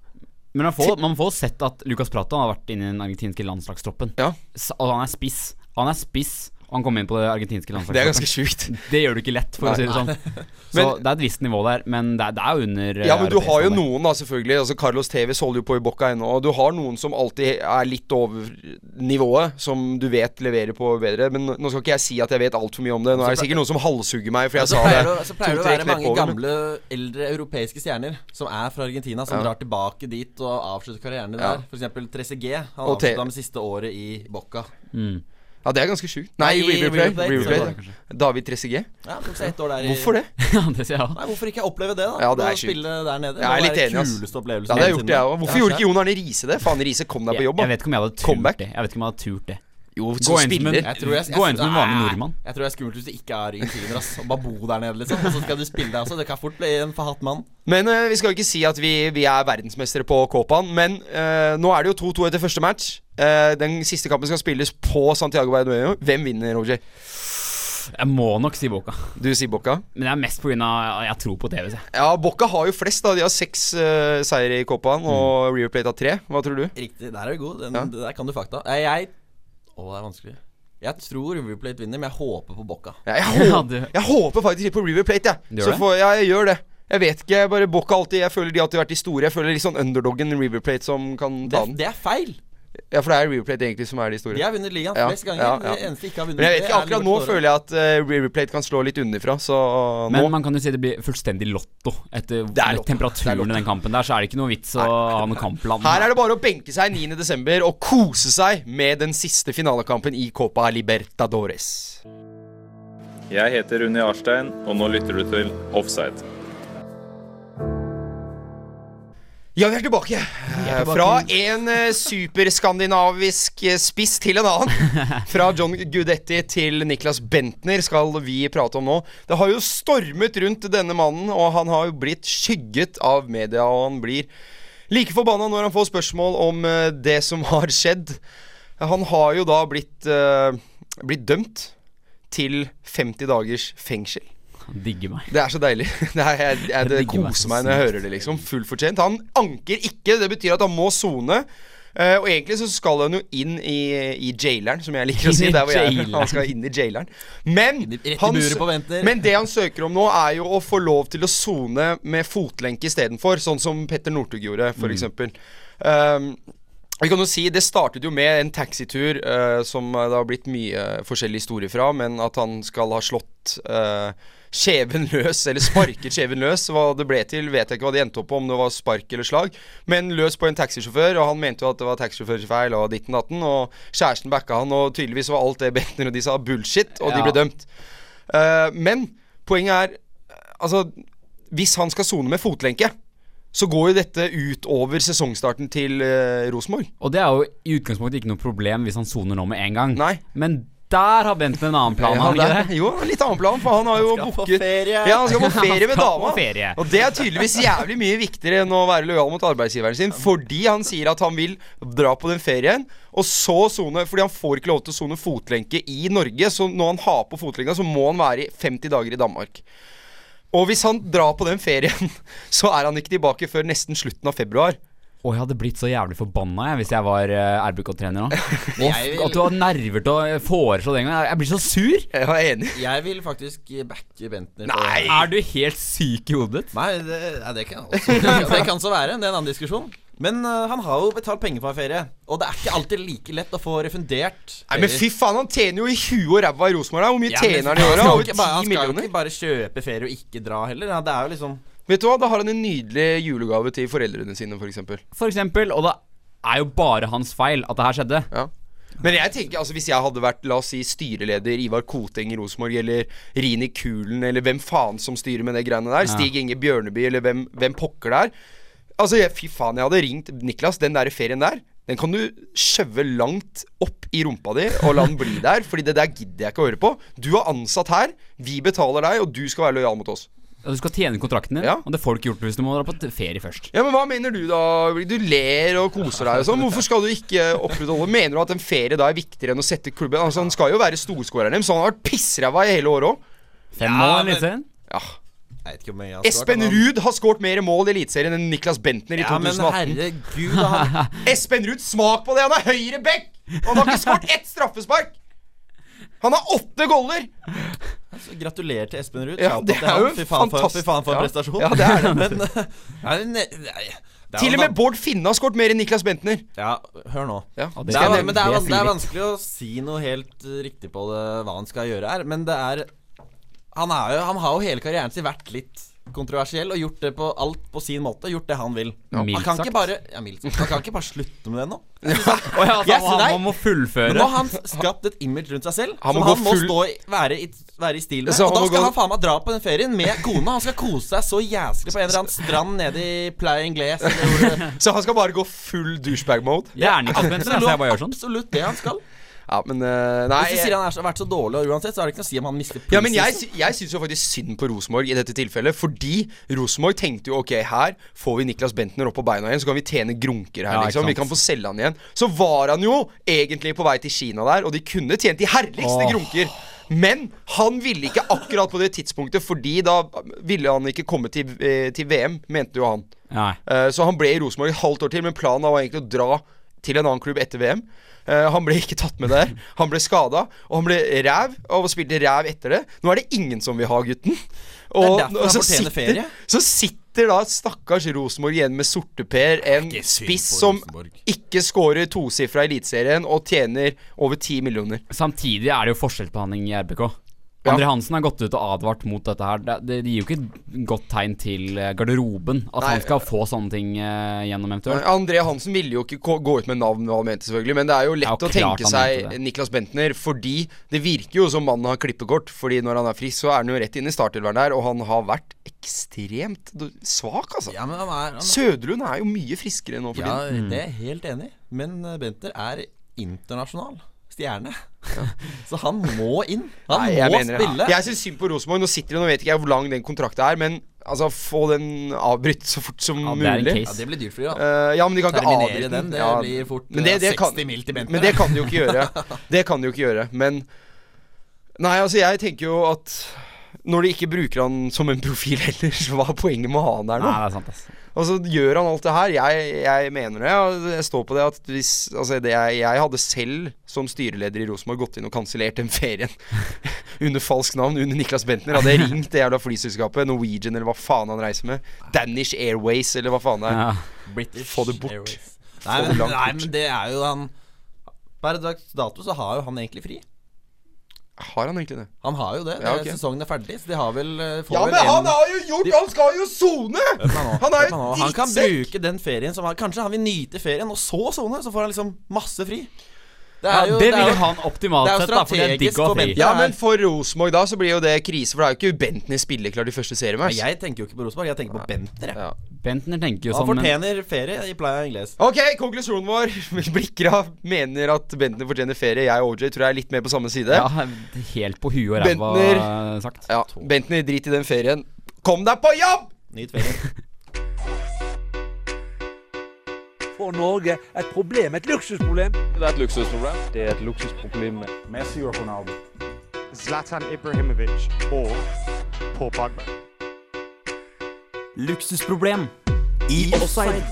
Men man får, man får sett at Lucas Prata har vært inne i den argentinske landslagstroppen.
Ja,
S- Og han er spiss. Han er spiss, og han kom inn på det argentinske
det er ganske
landslagstroppen.
sjukt.
Det, gjør du ikke lett, for
Nei.
å si det sånn. Så
Men-
det er et visst nivå der, men det er, det er jo under eh,
Ja, men du
europeisk
har jo
standard.
noen, da, selvfølgelig. Altså Carlos Tevez holder jo på i Boca ennå. Og du har noen som alltid er litt over nivået, som du vet leverer på bedre. Men nå skal ikke jeg si at jeg vet altfor mye om det. Nå er det sikkert noen som halshugger meg, for jeg sa
Så Altså,
det
pleier, det, å- så pleier det å
to-tre
være
knep
mange
over, men-
gamle, eldre europeiske stjerner som er fra Argentina, som drar tilbake dit og avslutter karrieren din
Ja.
der. For eksempel 3CG. Han
Og Te-
avslutta med siste året i Boca.
Ja, det er ganske sjukt. Nei, River
Nei, River
Plate.
Plate, Eh,
River
så
Plate.
var
det
David Tressegé.
Ja, tok seg ett år der i
Hvorfor det?
Ja, det sier jeg også.
Nei, hvorfor ikke oppleve det, da?
Ja, det er
Og
sjukt.
Spille der nede.
Jeg er litt enig, ass.
ass. Kuleste opplevelsen
Ja, det har jeg gjort, jeg
noensinne.
òg. Hvorfor gjorde ikke Jon Arne Riise det? Faen, Riise, kom deg på
Jeg,
jobb, da.
jeg vet ikke om jeg hadde
Comeback.
turt det. Jeg vet ikke om jeg hadde turt det.
Jo,
Gå
som
inn som en-
spiller.
Jeg tror jeg-
Gå inn som en vanlig
Nei,
nordmann.
Jeg tror det er skummelt hvis du ikke er argentiner. ass Og bare bo der nede, liksom. Og så skal du spille deg også. Det kan fort bli en forhatt mann.
Men eh, vi skal jo ikke si at vi, vi er verdensmestere på Kåpan. Men eh, nå er det jo 2-2 etter første match. Eh, den siste kampen skal spilles på Santiago Bernabeu. Hvem vinner, Roger?
Jeg må nok si Boka.
Du sier Bocca.
Men det er mest pga. jeg tror på TV. Jeg.
Ja, Bocca har jo flest, da. De har seks eh, seire i Kåpan, og River Plate har tre. Hva tror du?
Riktig. Der er du god. Den,
Ja.
det Der kan du fakta. Jeg, jeg Å, det er vanskelig. Jeg tror River Plate vinner, men jeg håper på Boca.
Ja, jeg,
Ja,
håper,
du-
jeg håper faktisk litt på River Plate, jeg.
Gjør
Så
det?
får, ja, jeg gjør det. Jeg vet ikke. jeg Bare Bocca alltid Jeg føler de alltid har vært de store. Jeg føler litt sånn underdoggen River Plate som kan
Det,
ta den.
det er feil.
Ja, for det er River Plate egentlig som er de
De
store.
har vunnet ligaen
Ja,
flest ganger.
ja, ja.
Det eneste de ikke har vunnet,
Men jeg vet
det
ikke.
er
Akkurat nå
Liverpool.
føler jeg at eh, River Plate kan slå litt underfra, så eh,
Men
nå
man kan jo si det blir fullstendig lotto. Etter
er
med
lotto. Det er
temperaturen
lotto.
i den kampen der, så er det ikke noe vits å ha noe kampplan.
Her er det bare å benke seg 9.12. og kose seg med den siste finalekampen i Copa Libertadores.
Jeg heter Rune Jarstein, og nå lytter du til Offside.
Ja, vi er tilbake. Eh, Fra en eh, superskandinavisk eh, spiss til en annen. Fra John Gudetti til Niklas Bentner skal vi prate om nå. Det har jo stormet rundt denne mannen, og han har jo blitt skygget av media. Og han blir like forbanna når han får spørsmål om eh, det som har skjedd. Han har jo da blitt, eh, blitt dømt til 50 dagers fengsel.
Digger meg.
Det er så deilig. Det er, jeg, jeg, det
Det digger meg
koser
så
meg når jeg
sykt.
hører det, liksom. Fullt fortjent. Han anker ikke, det betyr at han må sone. Eh, og egentlig så skal han jo inn i, i jaileren, som jeg liker å
Inn
si.
i
Der hvor jeg er.
jaileren.
Han skal inn i jaileren. Men,
Rett i
han
buret
sø-
på Bentner.
men det han søker om nå, er jo å få lov til å sone med fotlenke istedenfor. Sånn som Petter Northug gjorde,
Mm.
for eksempel. Um, vi kan jo si, Det startet jo med en taxitur eh, som det har blitt mye forskjellige historier fra, men at han skal ha slått eh, skjeven løs, eller sparket skjeven løs. Hva det ble til, vet jeg ikke hva det endte opp på, om det var spark eller slag. Men løs på en taxisjåfør, og han mente jo at det var taxisjåførens feil, og ditten datten. Og kjæresten backa han, og tydeligvis var alt det Bentner og de sa, bullshit, og de
Ja.
ble dømt. Eh, men poenget er Altså, hvis han skal sone med fotlenke så går jo dette utover sesongstarten til uh, Rosenborg.
Og det er jo i utgangspunktet ikke noe problem hvis han soner nå med en gang.
Nei.
Men der har Bent en annen plan.
Ja,
har han
det
ikke
er-
det?
Jo, litt annen plan, for han har jo
skal på
booket
ferie.
Ja, han skal på ferie med
Han skal
dama.
på ferie.
Og det er tydeligvis jævlig mye viktigere enn å være lojal mot arbeidsgiveren sin, fordi han sier at han vil dra på den ferien, og så sone Fordi han får ikke lov til å sone fotlenke i Norge, så når han har på fotlenka, så må han være i 50 dager i Danmark. Og hvis han drar på den ferien, så er han ikke tilbake før nesten slutten av februar.
Og jeg hadde blitt så jævlig forbanna jeg, hvis jeg var eh, RBK-trener nå.
Jeg
At
vil,
du har nerver til å eh, foreslå det en gang. Jeg blir så sur!
Jeg er enig.
jeg vil faktisk backe Bentner. på-
Nei!
Er du helt syk i hodet?
Nei, det, nei, det kan også Det kan så være. Det er en annen diskusjon. Men øh, han har jo betalt penger for ferie, og det er ikke alltid like lett å få refundert.
Nei, men fy faen, han tjener jo i huet og ræva i Rosenborg. da. Hvor mye
Ja, men
tjener han i
han
året?
skal jo
Over
ikke
10
bare- Han skal
millioner?
jo ikke bare kjøpe ferie og ikke dra heller. Ja, det er jo liksom
Vet du hva, da har han en nydelig julegave til foreldrene sine, f.eks. eksempel
For eksempel, og det er jo bare hans feil at det her skjedde.
ja. Men jeg tenker, altså hvis jeg hadde vært la oss si, styreleder Ivar Koteng i Rosenborg, eller Rini Kulen, eller hvem faen som styrer med det greiene der, Stig Inge Bjørneby, eller hvem, hvem pokker det er Altså, jeg, fy faen, jeg hadde ringt Niklas, den der ferien der den kan du skjøve langt opp i rumpa di og la den bli der, Fordi det der gidder jeg ikke å høre på. Du er ansatt her, vi betaler deg, og du skal være lojal mot oss.
Og du skal tjene kontrakten din,
Ja.
og det får du ikke gjort hvis du må dra på t- ferie først.
Ja, men Hva mener du, da? Du ler og koser deg og sånn. Hvorfor skal du ikke opprettholde Mener du at en ferie da er viktigere enn å sette klubben Altså, Han skal jo være storskåreren deres, så han har vært pissræva i hele året òg.
Fem
Ja,
år,
men-
liksom.
Ja.
Jeg vet ikke hvor mye han står,
Espen
kan han-
Ruud har skåret mer mål i Eliteserien enn Niklas Bentner i
Ja, men
2018.
herregud, da, han
Espen Ruud, smak på det! Han er høyre back! Og han har ikke skåret ett straffespark! Han har åtte goller!
altså, Gratulerer til Espen Ruud.
Ja,
Shout out
det
til
er
han.
jo
Fy faen for,
fantastisk.
fy faen for en
Ja.
prestasjon.
Ja, det er det.
Men øh, nei, nei, nei, det er
Til
jo
og med
van-
Bård Finne har skåret mer enn Niklas Bentner.
Ja, hør nå.
Ja.
Og
Det er,
skal
men det er,
det
van- det er
sier litt.
vanskelig å si noe helt eh, riktig på det, hva han skal gjøre her, men det er han, er jo, han har jo hele karrieren sin vært litt kontroversiell og gjort det på alt på sin måte. Gjort det han vil.
mildt
han kan
sagt.
ikke bare ja, mildt sagt. Han kan ikke bare slutte med det nå.
Å ja, altså,
Jeg ser
han,
deg.
han
Men
må
nå
fullføre.
har han skapt et image rundt seg selv
Han må
som
gå
han må
full-
stå i, være, i, være i stil med.
Så han
og da
må
skal
gå-
han faen meg dra på den ferien med kona. Han skal kose seg så jæsklig på en eller annen strand nede i Playa Ingles. eller hvor det-
Så han skal bare gå full douchebag-mode.
Hjernekaspenser, altså. Jeg bare gjør sånn.
Absolutt det han skal.
Ja, men eh, Nei.
Hvis du sier han har vært så dårlig og uansett, så er det ikke noe å si om han mister
Ja, men jeg,
preseason.
sy- jeg syns jo faktisk synd på Rosenborg i dette tilfellet. Fordi Rosenborg tenkte jo ok, her får vi Niklas Bentner opp på beina igjen, så kan vi tjene grunker her,
Ja, ikke
liksom. Vi
sant.
kan få selge han igjen. Så var han jo egentlig på vei til Kina der, og de kunne tjent de herligste
Åh.
grunker. Men han ville ikke akkurat på det tidspunktet, fordi da ville han ikke komme til, eh, til VM, mente jo han.
Nei.
Eh, Så han ble i Rosenborg et halvt år til, men planen var egentlig å dra til en annen klubb etter VM. Eh, Han ble ikke tatt med der. Han ble skada, og han ble ræv, og spilte ræv etter det. Nå er det ingen som vil ha gutten. Og,
derfor han fortjener ferie.
så sitter da stakkars Rosenborg igjen med Sorteper, en
Ikke synd på
spiss som
Rosenborg.
ikke scorer tosifra i Eliteserien og tjener over 10 millioner.
Samtidig er det jo forskjellsbehandling i RBK.
Ja.
André Hansen har gått ut og advart mot dette her. Det, det gir jo ikke et godt tegn til eh, garderoben at
Nei.
han skal få sånne ting eh, gjennom eventuelt.
André Hansen ville jo ikke gå- gå ut med navn, hva han mente selvfølgelig men det er jo lett
Ja,
å
klart
tenke
han
seg
mente det.
Niklas Bentner, fordi det virker jo som mannen har klippekort. Fordi når han er frisk, så er han jo rett inn i startelveren der, og han har vært ekstremt d- svak, altså.
Ja, men han er, han,
Søderlund er jo mye friskere nå for
ja,
tiden.
det er jeg helt enig i. Men eh, Benter er internasjonal stjerne. Så han må inn. Han
Nei, jeg
må
mener det.
spille.
Jeg syns synd på Rosenborg. Nå sitter de, nå vet ikke jeg hvor lang den kontrakten er, men altså, få den avbrutt så fort som
Ja, det er en
mulig.
case.
Ja, det blir dyrt for dem, da.
Eh, ja, men de kan ikke
Terminere
avbryte
den, det
ja.
blir fort,
Men det-
eh,
det kan-
60 mil til Bente.
Men det kan de jo ikke gjøre. Det kan de jo ikke gjøre. Men Nei, altså, jeg tenker jo at når de ikke bruker han som en profil heller, så hva er poenget med å ha han der nå?
Nei, det er sant, ass.
Og så gjør han alt det her. Jeg, jeg mener det, og jeg står på det at hvis Altså, det jeg, jeg hadde selv som styreleder i Rosenborg gått inn og kansellert den ferien under falskt navn, under Niklas Bentner. Hadde jeg ringt det jævla flyselskapet, Norwegian eller hva faen han reiser med, Danish Airways eller hva faen det er.
Ja.
British
Eh, Få det bort.
Airways. Nei,
det
men,
langt
nei,
bort.
men det er jo han Per dags dato så har jo han egentlig fri.
Har han egentlig det?
Han har jo det.
Ja,
det-
ok.
Sesongen er ferdig, så de har vel eh, får
Ja, men
vel en-
han har jo gjort Han skal jo sone!
Hør på nå,
Han er
hør
jo
på nå. Han kan
drittsekk.
bruke den ferien som han Kanskje han vil nyte ferien, og så sone, så får han liksom masse fri. Det
Ja,
er jo,
det
er
ville
jo-
han optimalt
det er jo
sett, da, for det er digg
strategisk
å ha
for
fri.
Bentner.
Ja,
Det er-
men for Rosenborg da så blir jo det krise, for det er jo ikke Bentner spilleklar de første seriematch.
Jeg tenker jo ikke på Rosenborg, jeg tenker på Bentner. jeg.
Ja.
Bentner tenker jo
Han
som en
fortjener ferie i pleia inglese.
Ok, konklusjonen vår. Blikra mener at Bentner fortjener ferie. Jeg og OJ tror jeg er litt mer på samme side.
Ja, helt på huet og ræva
Bentner.
eh, sagt.
Ja, Bentner, drit i den ferien. Kom deg på jobb!
Nyt ferie.
for Norge et problem, et luksusproblem.
Det er et luksusproblem. Det er et luksusproblem.
Zlatan Ibrahimovic og Paul Pogba.
Luksusproblem i offside.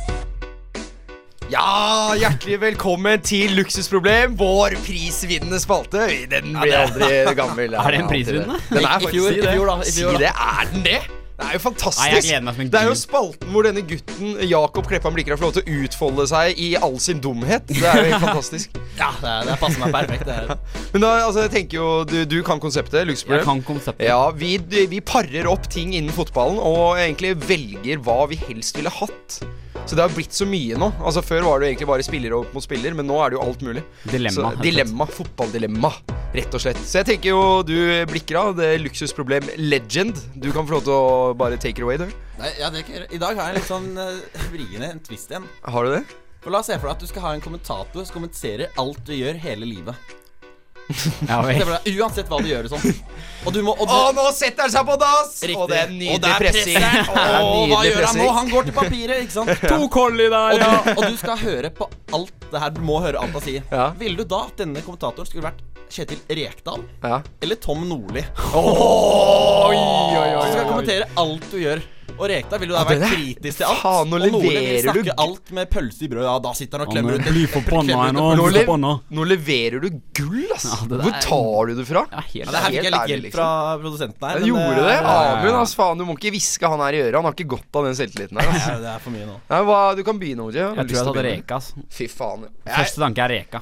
Ja, hjertelig velkommen til Luksusproblem, vår prisvinnende spalte. Den blir aldri gammel.
Er den
Ja,
prisvinnende?
Den er
I
faktisk
fjor,
det.
i fjor da, i
Si
fjor da.
det. Er den det? Det er jo fantastisk.
Nei, jeg gleder meg som en
det er jo
gud.
spalten hvor denne gutten Jakob Kleppan Blikra får lov til å utfolde seg i all sin dumhet. Det er jo helt fantastisk.
Ja, det, er- det passer meg perfekt. Det her.
Men da, altså, jeg tenker jo Du, du kan konseptet.
Jeg
Luksusproblem.
kan konseptet.
Ja, vi, vi parer opp ting innen fotballen og egentlig velger hva vi helst ville hatt. Så det har blitt så mye nå. Altså Før var det jo egentlig bare spiller opp mot spiller, men nå er det jo alt mulig.
Dilemma,
Så,
rett og slett.
dilemma Fotballdilemma, rett og slett. Så jeg tenker jo du blikker av det luksusproblem legend. Du kan få lov til å bare take it away, du.
Nei, ja, det kan jeg gjøre. I dag har jeg en litt sånn eh, vriene en twist igjen.
Har du det?
For La oss se for deg at du skal ha en kommentator som kommenterer alt du gjør hele livet.
Ja,
Se
vel.
for deg, uansett hva du gjør og sånn. Og du må og
Å,
du,
nå setter han seg på dass!
Riktig.
Og det er nydelig
Og der
pressing.
presser han.
Å,
Å, hva
nydelig
gjør han nå?
pressing.
Han går til papiret, ikke sant?
To collie der,
Og du, og du skal høre på alt det her. Du må høre alt han sier.
Ja.
Ville du da at denne kommentatoren skulle vært Kjetil Rekdal
Ja.
eller Tom Nordli?
Oi, oi,
Du
oi,
skal
oi.
kommentere alt du gjør. Og Rekdal vil jo da
Ja, det
være
der-
kritisk til alt.
Faen, nå
og Nordli vil
leverer du-
snakke alt med pølse i brød. Ja, da sitter han og
Han
klemmer ut
blir
klemmer ut
forbanna her
en
nå.
pølse.
Han
Nå,
blir
lev-
forbanna.
nå leverer du gull, ass!
Ja, det der
Hvor
er-
tar du det fra?
Ja, helt
Ja, det her fikk jeg
Helt
litt
ærlig,
hjelp fra produsenten her.
Jeg gjorde det?
eh,
ja, ja.
Amund, ass faen, du må ikke hviske han her i øret. Han har ikke godt av den selvtilliten her. ass.
ja, det er for mye nå.
Nei, hva, du kan begynne, OJ. Har du
Jeg tror
lyst
jeg
til å
hadde
begynne?
reka. ass.
Fy faen. Jeg,
Første tanke er reka.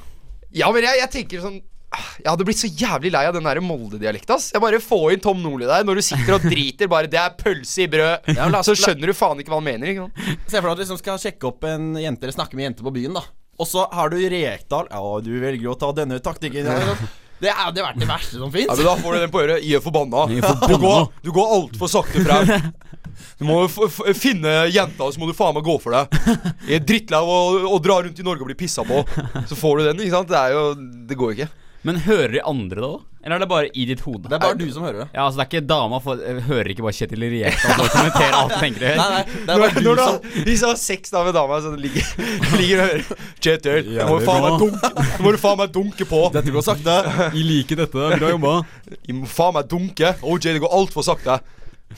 ja, men jeg, jeg tenker sånn ah, Jeg hadde blitt så jævlig lei av den der Molde-dialekta, ass. Jeg bare Få inn Tom Nordli der når du sitter og driter bare 'Det er pølse i brød',
Ja, la-
så skjønner du faen ikke hva han mener. ikke sant?
Se for deg at du liksom skal sjekke opp en jente eller snakke med en jente på byen, da. Og så har du Rekdal. Ja, du velger å ta denne taktikken. Ja, ikke sant? det er jo det, verste- det verste som fins.
men Da får du den på øret. Jeg er forbanna.
Jeg er forbanna. Du går-
du går altfor sakte frem. Du må finne jenta, så må du faen meg gå for deg. Jeg er drittlei av å, dra rundt i Norge og bli pissa på. Så får du den, ikke sant. Det er jo Det går ikke.
Men hører de andre det òg? Eller er det bare i ditt hode?
Det er bare du som hører det.
Ja, altså det er ikke dama for, eh, Hører ikke bare Kjetil Rekdal og kommenterer alt han tenker å
Nei,
gjøre?
nei, det er bare
når
du
da,
som
Hvis du har sex da med dama Så det ligger, ligger og hører Kjetil, nå må du
Jævlig
faen meg
bra.
dunke Nå må du faen meg dunke på
Dette går sakte.
Jeg liker dette. Bra jobba.
Jeg må faen meg dunke OJ, det går alt for sakte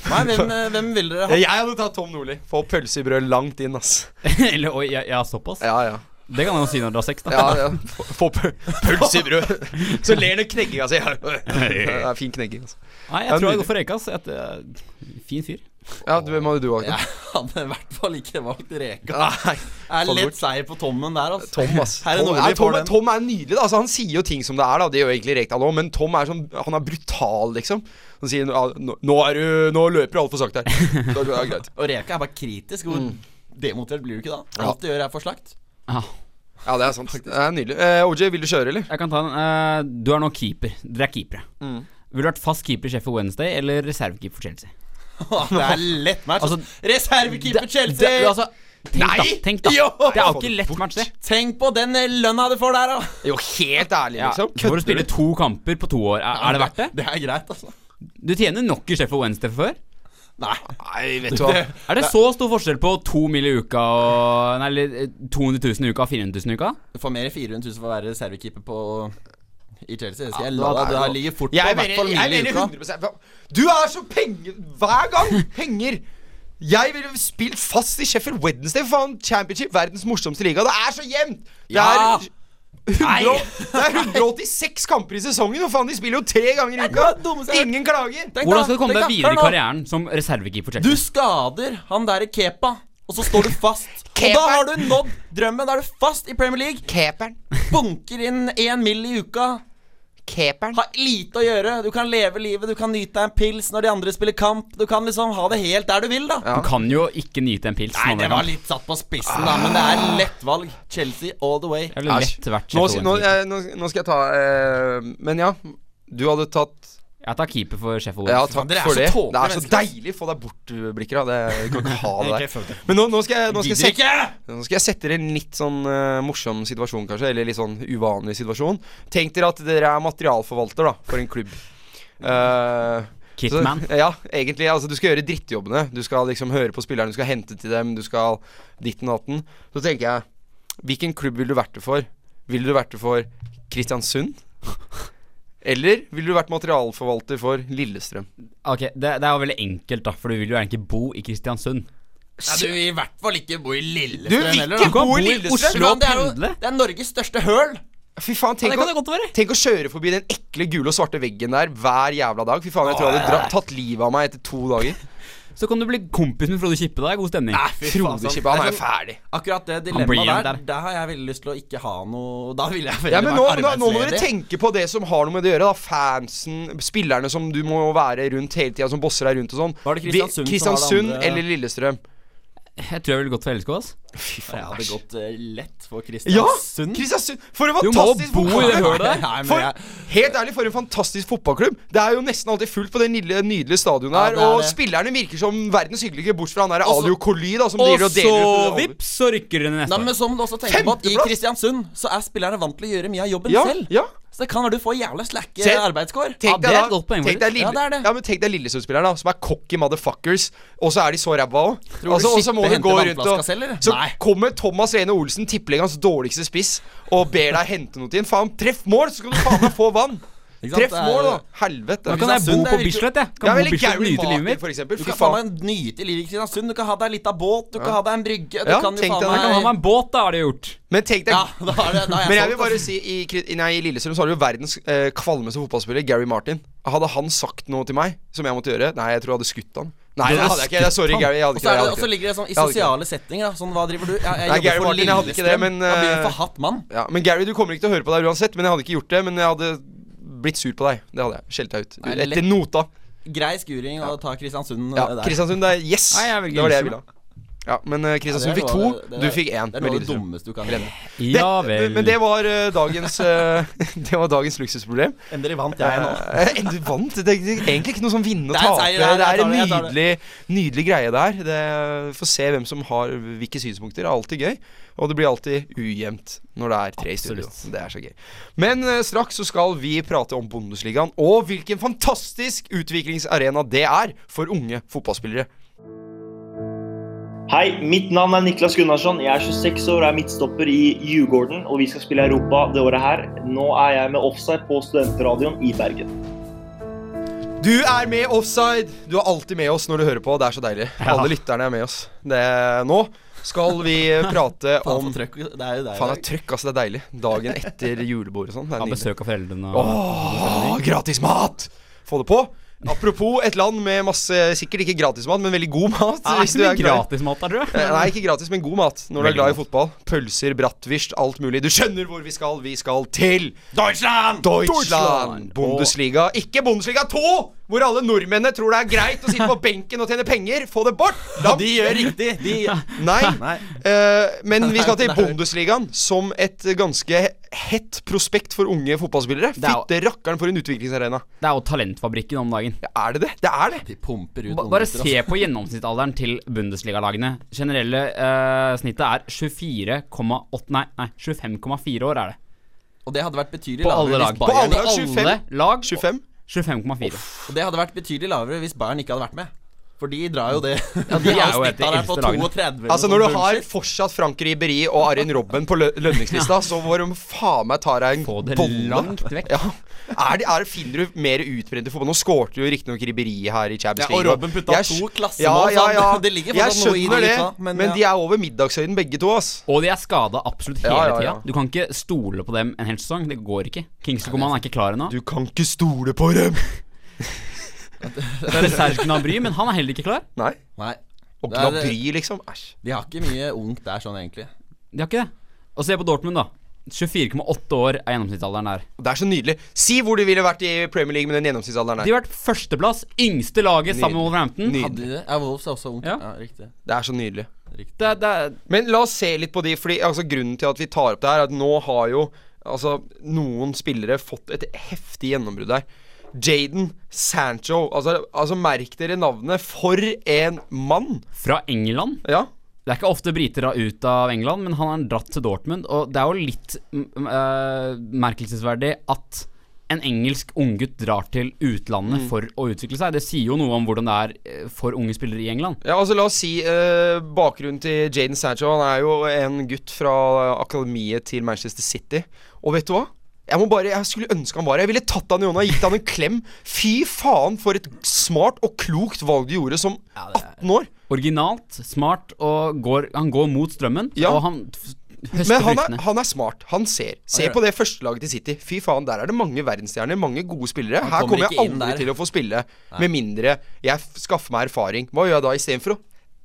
Nei, hvem, eh, hvem vil dere ha?
Jeg hadde tatt Tom Nordli Få pølse i brød langt inn, ass
Eller oi, ja, ja, såpass?
Ja, ja
Det kan han jo si når du har sex, da.
ja, ja. Få, få pø- pølse i brød Så ler den knegginga si Det er fin knegging altså.
Nei,
Ja,
jeg tror jeg
nydelig.
går for reka. ass. Et, eh, fin fyr.
Ja, du, hvem hadde du valgt?
Jeg hadde i hvert fall ikke valgt Rekdal.
Nei,
Det er lett seier på Tommen der, altså.
Tom, ass
Her er
Tom,
Nordli
nei, Tom,
får den.
Tom er nydelig, da altså, Han sier jo ting som det er da Det gjør egentlig Rekdal også Men Tom er sånn Han er brutal liksom Han sier "Ja, Nå, nå, er du, nå løper du alt for sakte her Da- da er det greit
Og Reka er bare kritisk. Hvor
Mm.
demotivert blir du ikke da? Alt du gjør, er for slakt.
Ja,
Ja, det er sant. Det er nydelig. Eh, OJ, vil du kjøre, eller?
jeg kan ta den. Eh, du er nå keeper. Dere er keepere. Ville du vært fast keeper i Sheffield Wednesday eller reservekeeper for Chelsea?
Det er lett match.
Altså,
Reservekeeper Chelsea!
Det, altså, tenk da,
Nei!
tenk da.
Jo!
Det er jo ikke lett match, det.
Tenk på den eh, lønna du får der, da!
Jo, helt ærlig,
Ja,
liksom.
for å spille to kamper på to år, er, er det verdt det?
Det er greit, altså.
Du tjener nok i Sheffield Wednesday fra før.
Nei.
Nei, vet du hva.
Er det så stor forskjell på to mill. i uka og Nei, eller eh, 200 000 i uka og 400 000 i uka?
Du får mer enn 400 000 for å være reservekeeper på i Chelsea. Det skal
Ja,
jeg la
da er
deg. Det
det-
ligger fort på
Jeg
i hvert fall mil i
mener
uka.
100 Hva- Du er så penger hver gang! Penger! Jeg ville spilt fast i Sheffield Wednesday, for faen. Championship, verdens morsomste liga. Det er så jevnt! Det
Ja!
er 100, og- det er 186 kamper i sesongen, og faen, de spiller jo tre ganger i uka!
det dummeste jeg har hørt.
Ingen klager!
Tenk da,
Hvordan skal du komme
tenk
deg
da,
videre
hør
i
nå.
karrieren som reservekeeper for
Du
Chelsea?
skader han derre Kepa, og så står du fast. og da
Kepa.
har du nådd drømmen. Da er du fast i Premier League.
Caperen.
Bunker inn én mil i uka.
Keeperen.
Har lite å gjøre. Du kan leve livet, du kan nyte deg en pils når de andre spiller kamp. Du kan liksom ha det helt der du vil, da.
Du kan jo ikke nyte en pils.
Nei,
når
det
det
var
kan.
litt satt på spissen, da, men det er lett valg. Chelsea all the way.
Jeg ville
Æsj.
lett vært
Nå,
Sheffield
nå,
Wednesday.
jeg, nå, nå skal jeg ta eh, Men ja, du hadde tatt
Jeg tar keeper for Sheffield.
Ja,
Wednesday.
takk
dere er
for
så
det.
tåpelige
Det er så
mennesker, ass.
deilig å få deg bort, uh, Blikker. Da. Det, du kan ikke ha det der. Men nå, nå, skal jeg, nå, skal jeg sette, nå skal jeg sette dere i en litt sånn eh, morsom situasjon, kanskje. Eller litt sånn uvanlig situasjon. Tenk dere at dere er materialforvalter da, for en klubb. Eh,
Kitman.
så- ja, egentlig. Altså, du skal gjøre drittjobbene. Du skal liksom høre på spillerne, du skal hente til dem, du skal ditten og datten. Så tenker jeg, hvilken klubb ville du vært det for? Ville du vært det for Kristiansund? Eller ville du vært materialforvalter for Lillestrøm?
Ok, det, det er jo veldig enkelt, da, for du vil jo egentlig bo i Kristiansund.
Nei, du vil i hvert fall ikke bo i Lillestrøm
Du vil
heller,
ikke
da.
bo i Lillestrøm!
Oslo og
Det er, jo,
pendle?
det er Norges største høl.
Fy faen, tenk, å,
godt være.
tenk å kjøre forbi den ekle gule og svarte veggen der hver jævla dag. Fy faen, jeg tror jeg hadde dra, tatt livet av meg etter to dager.
Så kan du bli kompis med Frode Kippe. da, God stemning.
fy faen,
Frode
sant.
Kippe, han
Det
er
er
jo
sånn-
ferdig.
Akkurat det
blir
dilemmaet
igjen
der,
der.
der har jeg veldig lyst til å ikke ha noe Da ville jeg veldig
Ja, men nå,
vært
nå, nå må dere
arbeidsledig.
tenke på det som har noe med det å gjøre. da Fansen, spillerne som du må være rundt hele tida, som bosser deg rundt og sånn.
Var det
Vi-
Kristiansund som var det
Kristiansund
andre?
eller Lillestrøm?
Jeg tror jeg ville gått for LSK. ass
Fy faen,
Jeg hadde
æsj.
gått eh, lett for
Ja!
Kristiansund.
Kristiansund! For en
Du må
fantastisk
bo i det
fotballklubb!
hølet der.
Nei, men
For,
jeg-
helt ærlig, for en fantastisk fotballklubb. Det er jo nesten alltid fullt på det lille, nydelige stadionet
Ja,
her.
det er
og
det.
spillerne virker som verdens hyggeligste, bortsett fra han der
Og så-
Alio Koli, da, som
Og
driver og
så
deler ut
vips, så rykker den
Nei,
neste.
men som du også tenker på at I
Femteplass!
Kristiansund så er spillerne vant til å gjøre mye av jobben
Ja,
selv.
ja.
Så det kan være du får jævla slacke
Selv-
arbeidskår.
Tenk
Ja,
deg
det er
da-
et godt poeng,
Tenk deg,
faktisk.
lille,
Ja, det er det.
Ja, men tenk deg Lillesund-spilleren, da, som er cocky motherfuckers, og så er de så ræva òg.
du
Altså, og så
Kippe
må hun
henter
gå rundt
vannflaska
og
selv, eller?
Så
Nei.
kommer Thomas Rene Olsen, tippeligaens dårligste spiss, og ber deg hente noe til en. Faen, treff mål, så skal du faen meg få vann!
Ikke sant?
Treff
Det er-
mål, da! Helvete.
Da kan jeg bo
Kristiansund, det
på
er virkelig-
Bislett, jeg.
Ja,
Kan bo
eller
på Bislett
Gary
og nyte livet
Martin,
mitt.
for eksempel.
Du
Fy
kan faen
faen.
meg nyte livet i Kristiansund. Du kan ha deg ei lita båt, du kan ha deg en brygge. Du
Ja,
kan jo
tenk
faen
deg det.
Jeg kan ha
meg
meg en båt, da, har de gjort.
Men tenk deg
Ja, da er det, da er jeg
Men jeg vil
solgt,
bare
altså.
si i, Kri- nei, I Lillestrøm så har du jo verdens eh, kvalmeste fotballspiller, Gary Martin. Hadde han sagt noe til meg som jeg måtte gjøre Nei, jeg tror jeg hadde skutt han. Nei,
Du
det
hadde
hadde jeg ikke. Jeg- Sorry,
skutt han.
Gary. Jeg hadde ikke det. Jeg
Og så er det,
hadde
og
ikke
så
det.
ligger det sånn i
Jeg hadde ikke
sosiale settinger. Sånn, hva driver du? Jeg, jeg
Nei,
jobber
Gary
for
Martin, jeg hadde ikke det,
Lillestrøm.
men,
Da blir du en
eh,
forhatt mann.
Ja, men Gary, du kommer ikke til å høre på deg uansett, men jeg hadde ikke gjort det. Men jeg hadde blitt sur på deg. Det hadde jeg. Skjelt deg ut.
Nei, lett.
Etter nota.
Grei skuring å ta Kristiansund
Ja,
eh, der.
Kristiansund, det er yes!
Nei, jeg velger
det var det jeg
Lillestrøm,
ville ha. Ja, men eh,
Ja, det er
Kristiansund fikk
noe
to,
av det- det er-
du fikk én
Det er
med
noe av det
Lillestrøm.
dummeste du kan gjøre.
Ja vel.
Men det var eh, dagens eh, Det var dagens luksusproblem.
Endelig vant jeg nå.
Eh, Du vant. Det er egentlig ikke noe som vinne og
Det er en
tape.
seier,
Det
jeg-
er,
jeg tar
en
det, jeg tar
nydelig,
det.
nydelig greie der. Det Få se hvem som har hvilke synspunkter. Det er alltid gøy. Og det blir alltid ujevnt når det er tre i studio.
Absolutt.
Det er så gøy. Men eh, straks så skal vi prate om Bundesligaen, og hvilken fantastisk utviklingsarena det er for unge fotballspillere.
Hei, mitt navn er Niklas Gunnarsson. Jeg er 26 år og er midtstopper i Djurgården. Og vi skal spille Europa det året her. Nå er jeg med offside på Studentradioen i Bergen.
Du er med offside! Du er alltid med oss når du hører på. Det er så deilig. Alle lytterne er med oss. Det, nå skal vi prate
Faen,
om
for trøkk. Det er jo deg.
Faen, det er trøkk, altså. Det er deilig. Dagen etter julebord og sånn. Det er
Av
nydelig.
besøk av foreldrene og
Åh, gratis mat! Få det på. Apropos et land med masse Sikkert ikke gratis mat, men veldig god mat.
Det er
hvis
ikke
du
så mye
glad i-
gratismat der, tror
Eh,
jeg.
Nei, ikke gratis, men god mat når du er
Veldig
glad i
god.
fotball. Pølser, bratwurst, alt mulig. Du skjønner hvor vi skal. Vi skal til
Deutschland!
Deutschland! Bundesliga. Ikke Bundesliga 2, hvor alle nordmennene tror det er greit å sitte på benken og tjene penger. Få det bort! La-
De gjør riktig. De
Nei.
Nei.
Eh, men vi skal til
Nei.
Bundesligaen som et ganske hett prospekt for unge fotballspillere.
Det er jo-
Fytte rakkeren for en utviklingsarena.
Det er jo Talentfabrikken om dagen.
Ja, altså. er det det? Det er det.
De pumper ut
Ba- Bare
unggutter, altså.
se på gjennomsnittsalderen til Bundesliga-lagene. Generelle eh, snittet er 24,8 Nei, nei 25,4 år er det.
altså. Og det hadde vært betydelig
På alle
lavere
lag.
hvis
På alle
Bayern
lag, 25.
Alle lag
25.
25,4.
Og det hadde vært betydelig lavere hvis Bayern ikke hadde vært med. For de drar jo det. Ja,
de er jo et
snittet
av de
der
eldste
på
lagene.
32
Altså Når du har
sånn bullshit.
fortsatt Frank Ribéry og Arin Robben på lø lønningslista, så hvor de faen meg tar deg en
Få det
bolle.
langt vekk.
Ja. Er det, er, finner du mer utbrent i fotball? Nå skårte jo riktignok Ribéry her i Champions
Ja,
League.
og Robben putta
skj-
to klassemål,
ja, ja, ja.
så det ligger fortsatt noe i
Jeg skjønner
det,
det,
gutta, men
men,
ja.
de er over middagshøyden begge to, ass.
Og de er skada absolutt hele
Ja, ja, ja.
tida. Du kan ikke stole på dem en hel sesong. Det går ikke. Kingsley Coman er ikke klar ennå.
Du kan ikke stole på dem!
Det er Serge Gnabry, men han er heller ikke klar.
Nei.
Nei.
Og
Det er det-
Gnabry, liksom. Æsj.
De har ikke mye ungt der sånn, egentlig.
De har ikke det. Og se på Dortmund, da. 24,8 år er gjennomsnittsalderen der.
Det er så nydelig. Si hvor de ville vært i Premier League med den gjennomsnittsalderen
De
her.
har vært førsteplass, yngste laget sammen med Wolverhampton.
Nydelig.
Hadde de det? Ja, Wolves er også ungt.
Ja.
Ja, riktig.
Det er så nydelig.
Det, er- det, er-
Men la oss se litt på de, fordi altså, grunnen til at vi tar opp det her, er at nå har jo altså, noen spillere fått et heftig gjennombrudd her. Jaden Sancho. Altså, altså merk dere navnet. For en mann!
fra England.
Ja.
Det er ikke ofte briter drar ut av England, men han har dratt til Dortmund. Og det er jo litt mm, øh, merkelsesverdig at en engelsk unggutt drar til utlandet
Mm.
for å utvikle seg. Det sier jo noe om hvordan det er eh, for unge spillere i England.
Ja, altså La oss si eh, bakgrunnen til Jaden Sancho. Han er jo en gutt fra eh, akademiet til Manchester City. Og vet du hva? Jeg, må bare, jeg skulle ønske han var her. Jeg ville tatt han i hånda og gitt han en klem. Fy faen, for et smart og klokt valg du gjorde som 18 år.
Originalt, smart, og går, han går mot strømmen.
Ja.
Og han f- høster
Men han er,
fruktene.
han er smart. Han ser. Se på det førstelaget til City. Fy faen, der er det mange verdensstjerner, mange gode spillere. Her
kommer
kommer jeg
ikke inn
aldri
der.
til å få spille, med mindre jeg f- skaffer meg erfaring. Hva gjør jeg da istedenfor å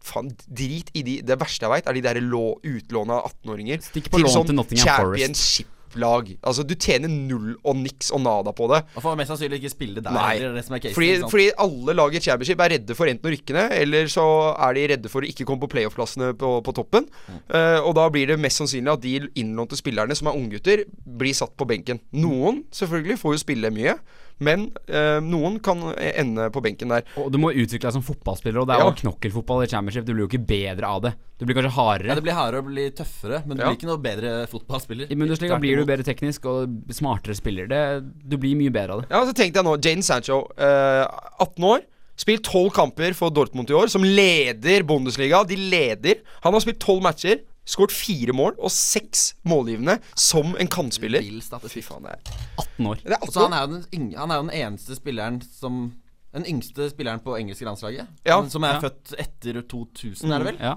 Faen, drit i de Det verste jeg veit, er de der lå- utlåna 18-åringer
Stikk på lån til Nottingham Forest.
sånn championship-lag. Altså, du tjener null og niks og nada på det.
Man får mest sannsynlig ikke spille der.
Nei.
Det er det som er casen,
fordi,
ikke sant?
fordi alle lag i Championship er redde for enten å rykke ned, eller så er de redde for å ikke komme på playoff-plassene på, på toppen. Eh, og da blir det mest sannsynlig at de innlånte spillerne, som er unggutter, blir satt på benken. Noen selvfølgelig får jo spille mye, men eh, noen kan ende på benken der.
Og du må utvikle deg som fotballspiller, og det er
Ja.
jo knokkelfotball i championship. Du blir jo ikke bedre av det. Du blir kanskje
Ja,
hardere.
det blir hardere og blir tøffere, men du
Ja.
blir ikke noe bedre fotballspiller.
I Bundesliga
Tvert
blir du
imot.
bedre teknisk og smartere spiller. Det, du blir mye bedre av det.
Ja, så tenkte jeg nå, Jane Sancho, eh, 18 år. Spilt 12 kamper for Dortmund i år, som leder Bundesliga. De leder. Han har spilt 12 matcher, skåret 4 mål og 6 målgivende som en kantspiller.
Vill
Fy
statistikk.
faen, det er
18 år.
Det er
Og
18
så han er jo den, yng- han er jo den eneste spilleren som Den yngste spilleren på engelske landslaget.
Ja. Mm.
Han Som er
Ja.
født etter 2000, er det vel?
Ja.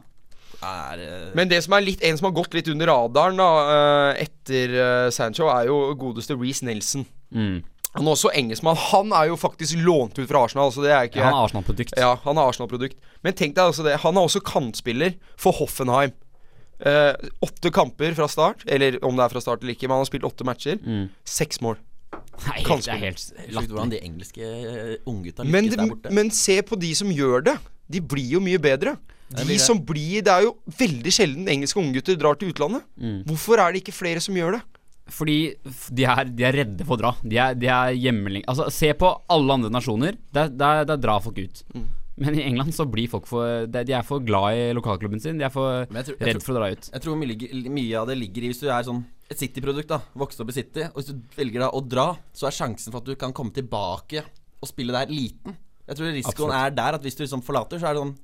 Er, eh,
Men det som er litt, en som har gått litt under radaren da, eh, etter eh, Sancho, er jo godeste Reece Nelson.
Mm.
Han er også engelskmann. Han er jo faktisk lånt ut fra Arsenal, så det er ikke
Han er Arsenal-produkt.
Ja, han er Arsenal-produkt. Men tenk deg altså det, han er også kantspiller for Hoffenheim. Eh, åtte kamper fra start, eller om det er fra start eller ikke, men han har spilt åtte matcher. Seks mål.
Nei, det
Kanskje.
er helt
Sjukt
latterlig.
hvordan de engelske eh, unggutta
Men,
lykkes der borte.
men se på de som gjør det. De blir jo mye bedre. De som blir, Det er jo veldig sjelden engelske unggutter drar til utlandet.
Mm.
Hvorfor er det ikke flere som gjør det?
Fordi f- de er, de er redde for å dra. De er, de er hjemmeling... Altså, se på alle andre nasjoner. Der, der, der drar folk ut.
Mm.
Men i England så blir folk for De, de er for glad i lokalklubben sin. De er for
Men jeg tror- jeg
redd
tror-
for å dra ut.
Jeg tror mye, mye av det ligger i hvis du er sånn et City-produkt, da. Vokste opp i City. Og hvis du velger da å dra, så er sjansen for at du kan komme tilbake og spille der, liten. Jeg tror risikoen er der at hvis du liksom forlater, så er det sånn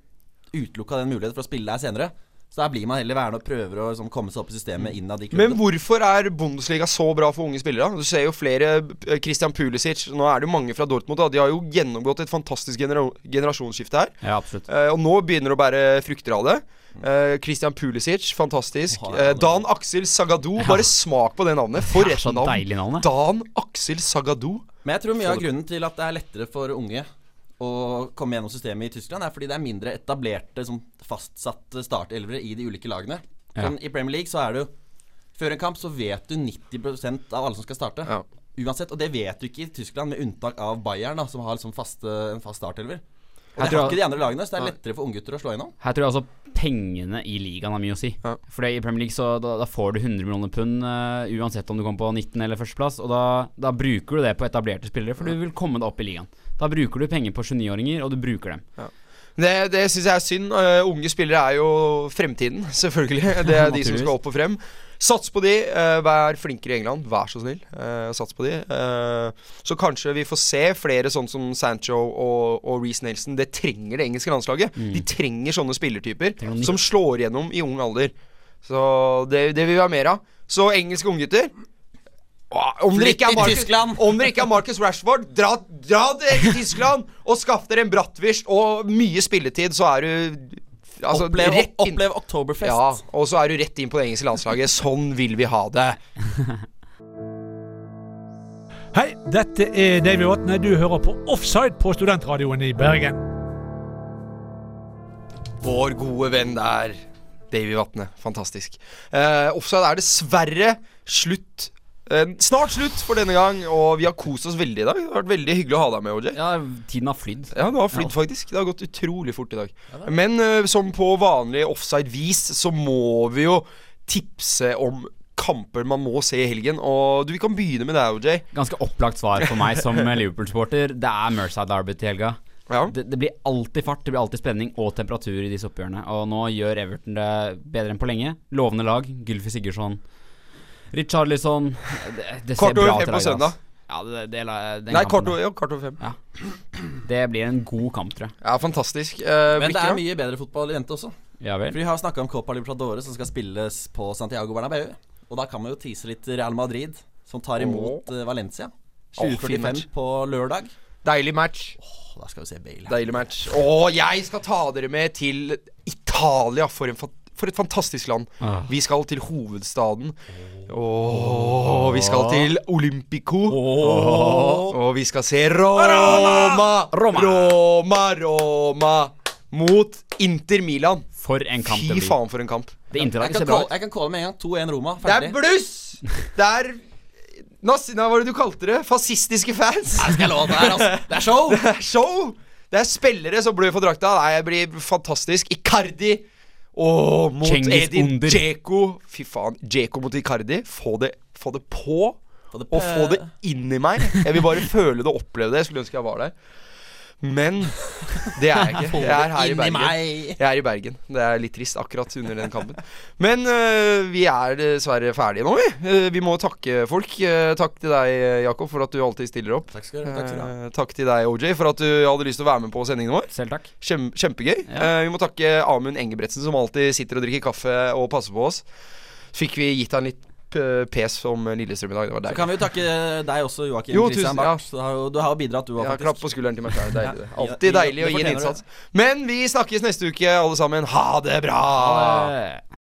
utelukka den muligheten for å spille der senere. Så der blir man heller værende og prøver å liksom, komme seg opp i systemet innad i
Men
klubben.
hvorfor er Bundesliga så bra for unge spillere? Du ser jo flere eh, Christian Pulisic, nå er det jo mange fra Dortmund, da. De har jo gjennomgått et fantastisk genera generasjonsskifte her.
Ja, absolutt.
Eh, og nå begynner det å bære frukter av det. Eh, Christian Pulisic, fantastisk. Eh, Dan Aksel Sagadou, bare smak på det navnet. For
Det er
et
så
navn.
deilig navn, da.
Dan Aksel Sagadou.
Men jeg tror mye av grunnen til at det er lettere for unge å komme gjennom systemet i Tyskland, er fordi det er mindre etablerte, som fastsatte startelvere i de ulike lagene.
Ja.
Sånn, I Premier League så er det jo Før en kamp så vet du 90 av alle som skal starte.
Ja.
Uansett, Og det vet du ikke i Tyskland, med unntak av Bayern, da, som har liksom faste, en fast startelver. Og
Jeg
det
tror-
har ikke de andre lagene, så det er lettere for unggutter å slå gjennom.
Her tror jeg altså pengene i ligaen har mye å si.
Ja.
Fordi i Premier League så da, da får du 100 millioner pund eh, uansett om du kommer på 19. eller førsteplass, og da, da bruker du det på etablerte spillere, for du vil komme deg opp i ligaen. Da bruker du penger på 29-åringer, og du bruker dem.
Det, det syns jeg er synd. Eh, unge spillere er jo fremtiden, selvfølgelig. Det er de som skal opp og frem. Sats på de. eh, vær flinkere i England, vær så snill. Eh, sats på de. Eh, så kanskje vi får se flere sånn som Sancho og, og Reece Nelson. Det trenger det engelske landslaget. De trenger sånne spillertyper
noe
som slår gjennom i ung alder. Så det, det vil vi ha mer av. Så engelske unggutter Åh, om dere,
Flytt
ikke er
til
Marcus,
Tyskland.
om dere ikke er Marcus Rashford, dra, dra dere til Tyskland og skaff dere en bratwurst og mye spilletid, så er du altså,
opplev,
rett inn-
opplev Oktoberfest.
Ja, og så er du rett inn på det engelske landslaget. Sånn vil vi ha det.
Hei, dette er David Vatne. Du hører på Offside på studentradioen i Bergen.
Vår gode venn der, Davy Vatne. Fantastisk. Eh, offside er dessverre slutt. eh, snart slutt for denne gang, og vi har kost oss veldig i dag. Det har vært veldig hyggelig å ha deg med, OJ.
Ja, tiden har flydd.
Ja, det har flydd faktisk. Det har gått utrolig fort i dag. Men eh, som på vanlig offside-vis så må vi jo tipse om kamper man må se i helgen. Og du, vi kan begynne med deg, OJ.
Ganske opplagt svar for meg som Liverpool-sporter. Det er Merced Derby til helga.
Ja.
Det, det blir alltid fart, det blir alltid spenning og temperatur i disse oppgjørene. Og nå gjør Everton det bedre enn på lenge. Lovende lag. Gylfi Sigurdsson, Richarlison Det, det ser
Kvart over
bra
fem
til
på
laget,
søndag.
ass. Ja, det, det, la- den
Nei,
kampen
kvart
der.
over, ja, kvart over fem.
Det blir en god kamp, tror jeg.
Ja, fantastisk. Eh,
Men det
Blikker,
er
da?
mye bedre fotball i vente også.
Ja vel.
For Vi har snakka om Copa Libertadores som skal spilles på Santiago Bernabeu. Og da kan man jo tease litt Real Madrid, som tar imot eh, Valencia.
fin
2045
match.
på lørdag.
Deilig match.
Og da skal vi se Bale.
Deilig match. Og jeg skal ta dere med til Italia. For, en, fa- for et fantastisk land. Vi skal til hovedstaden. Og vi skal til Olympico. Og vi skal se Roma! Roma, Roma, Roma mot Inter Milan.
For en kamp
Fy
det blir.
faen, for en kamp.
Det
Jeg
interlaget
kan,
ser bra
calle,
ut.
jeg kan calle med en gang. 2-1 Roma.
Det er
Ferdig.
bluss! Det er Nas- Nei, hva var det du kalte det? Fascistiske fans?
Nei, skal jeg love at det er, altså. Det er show!
Det er show! Det er spillere som blør for drakta. Nei, jeg blir fantastisk. Icardi og mot
Cengiz
Edin
Under.
Dzeko. Fy faen. Dzeko mot Icardi. Få det, få det på.
Få det
Og
på.
få det
Eh.
inn i meg. Jeg vil bare føle det og oppleve det. Jeg skulle ønske jeg var der. Men det er jeg ikke. Jeg er her i
Inni
Bergen.
meg.
Jeg er i Bergen. Det er litt trist akkurat under den kampen. Men øh, vi er dessverre ferdige nå, vi. Eh, vi må takke folk. Eh, takk til deg, Jakob, for at du alltid stiller opp.
Takk skal du takk skal du ha.
Eh, takk til deg, OJ, for at du hadde lyst til å være med på sendingen vår.
Selv takk.
Kjem, kjempegøy. Eh, vi må takke Amund Engebretsen, som alltid sitter og drikker kaffe og passer på oss. Fikk vi gitt han litt eh, pes om Lillestrøm i dag. Det var
Så
deilig.
kan vi jo takke deg også, Joakim
Jo,
Christian
tusen-
Barth. Du har jo- Du har jo bidratt, du òg,
Ja, klapp
faktisk.
på skulderen til meg sjøl. Deilig. det.
Ja,
Alltid
ja,
deilig å
det
gi en
fortjener du.
innsats. Men vi snakkes neste uke, alle sammen. Ha det bra!
Eh,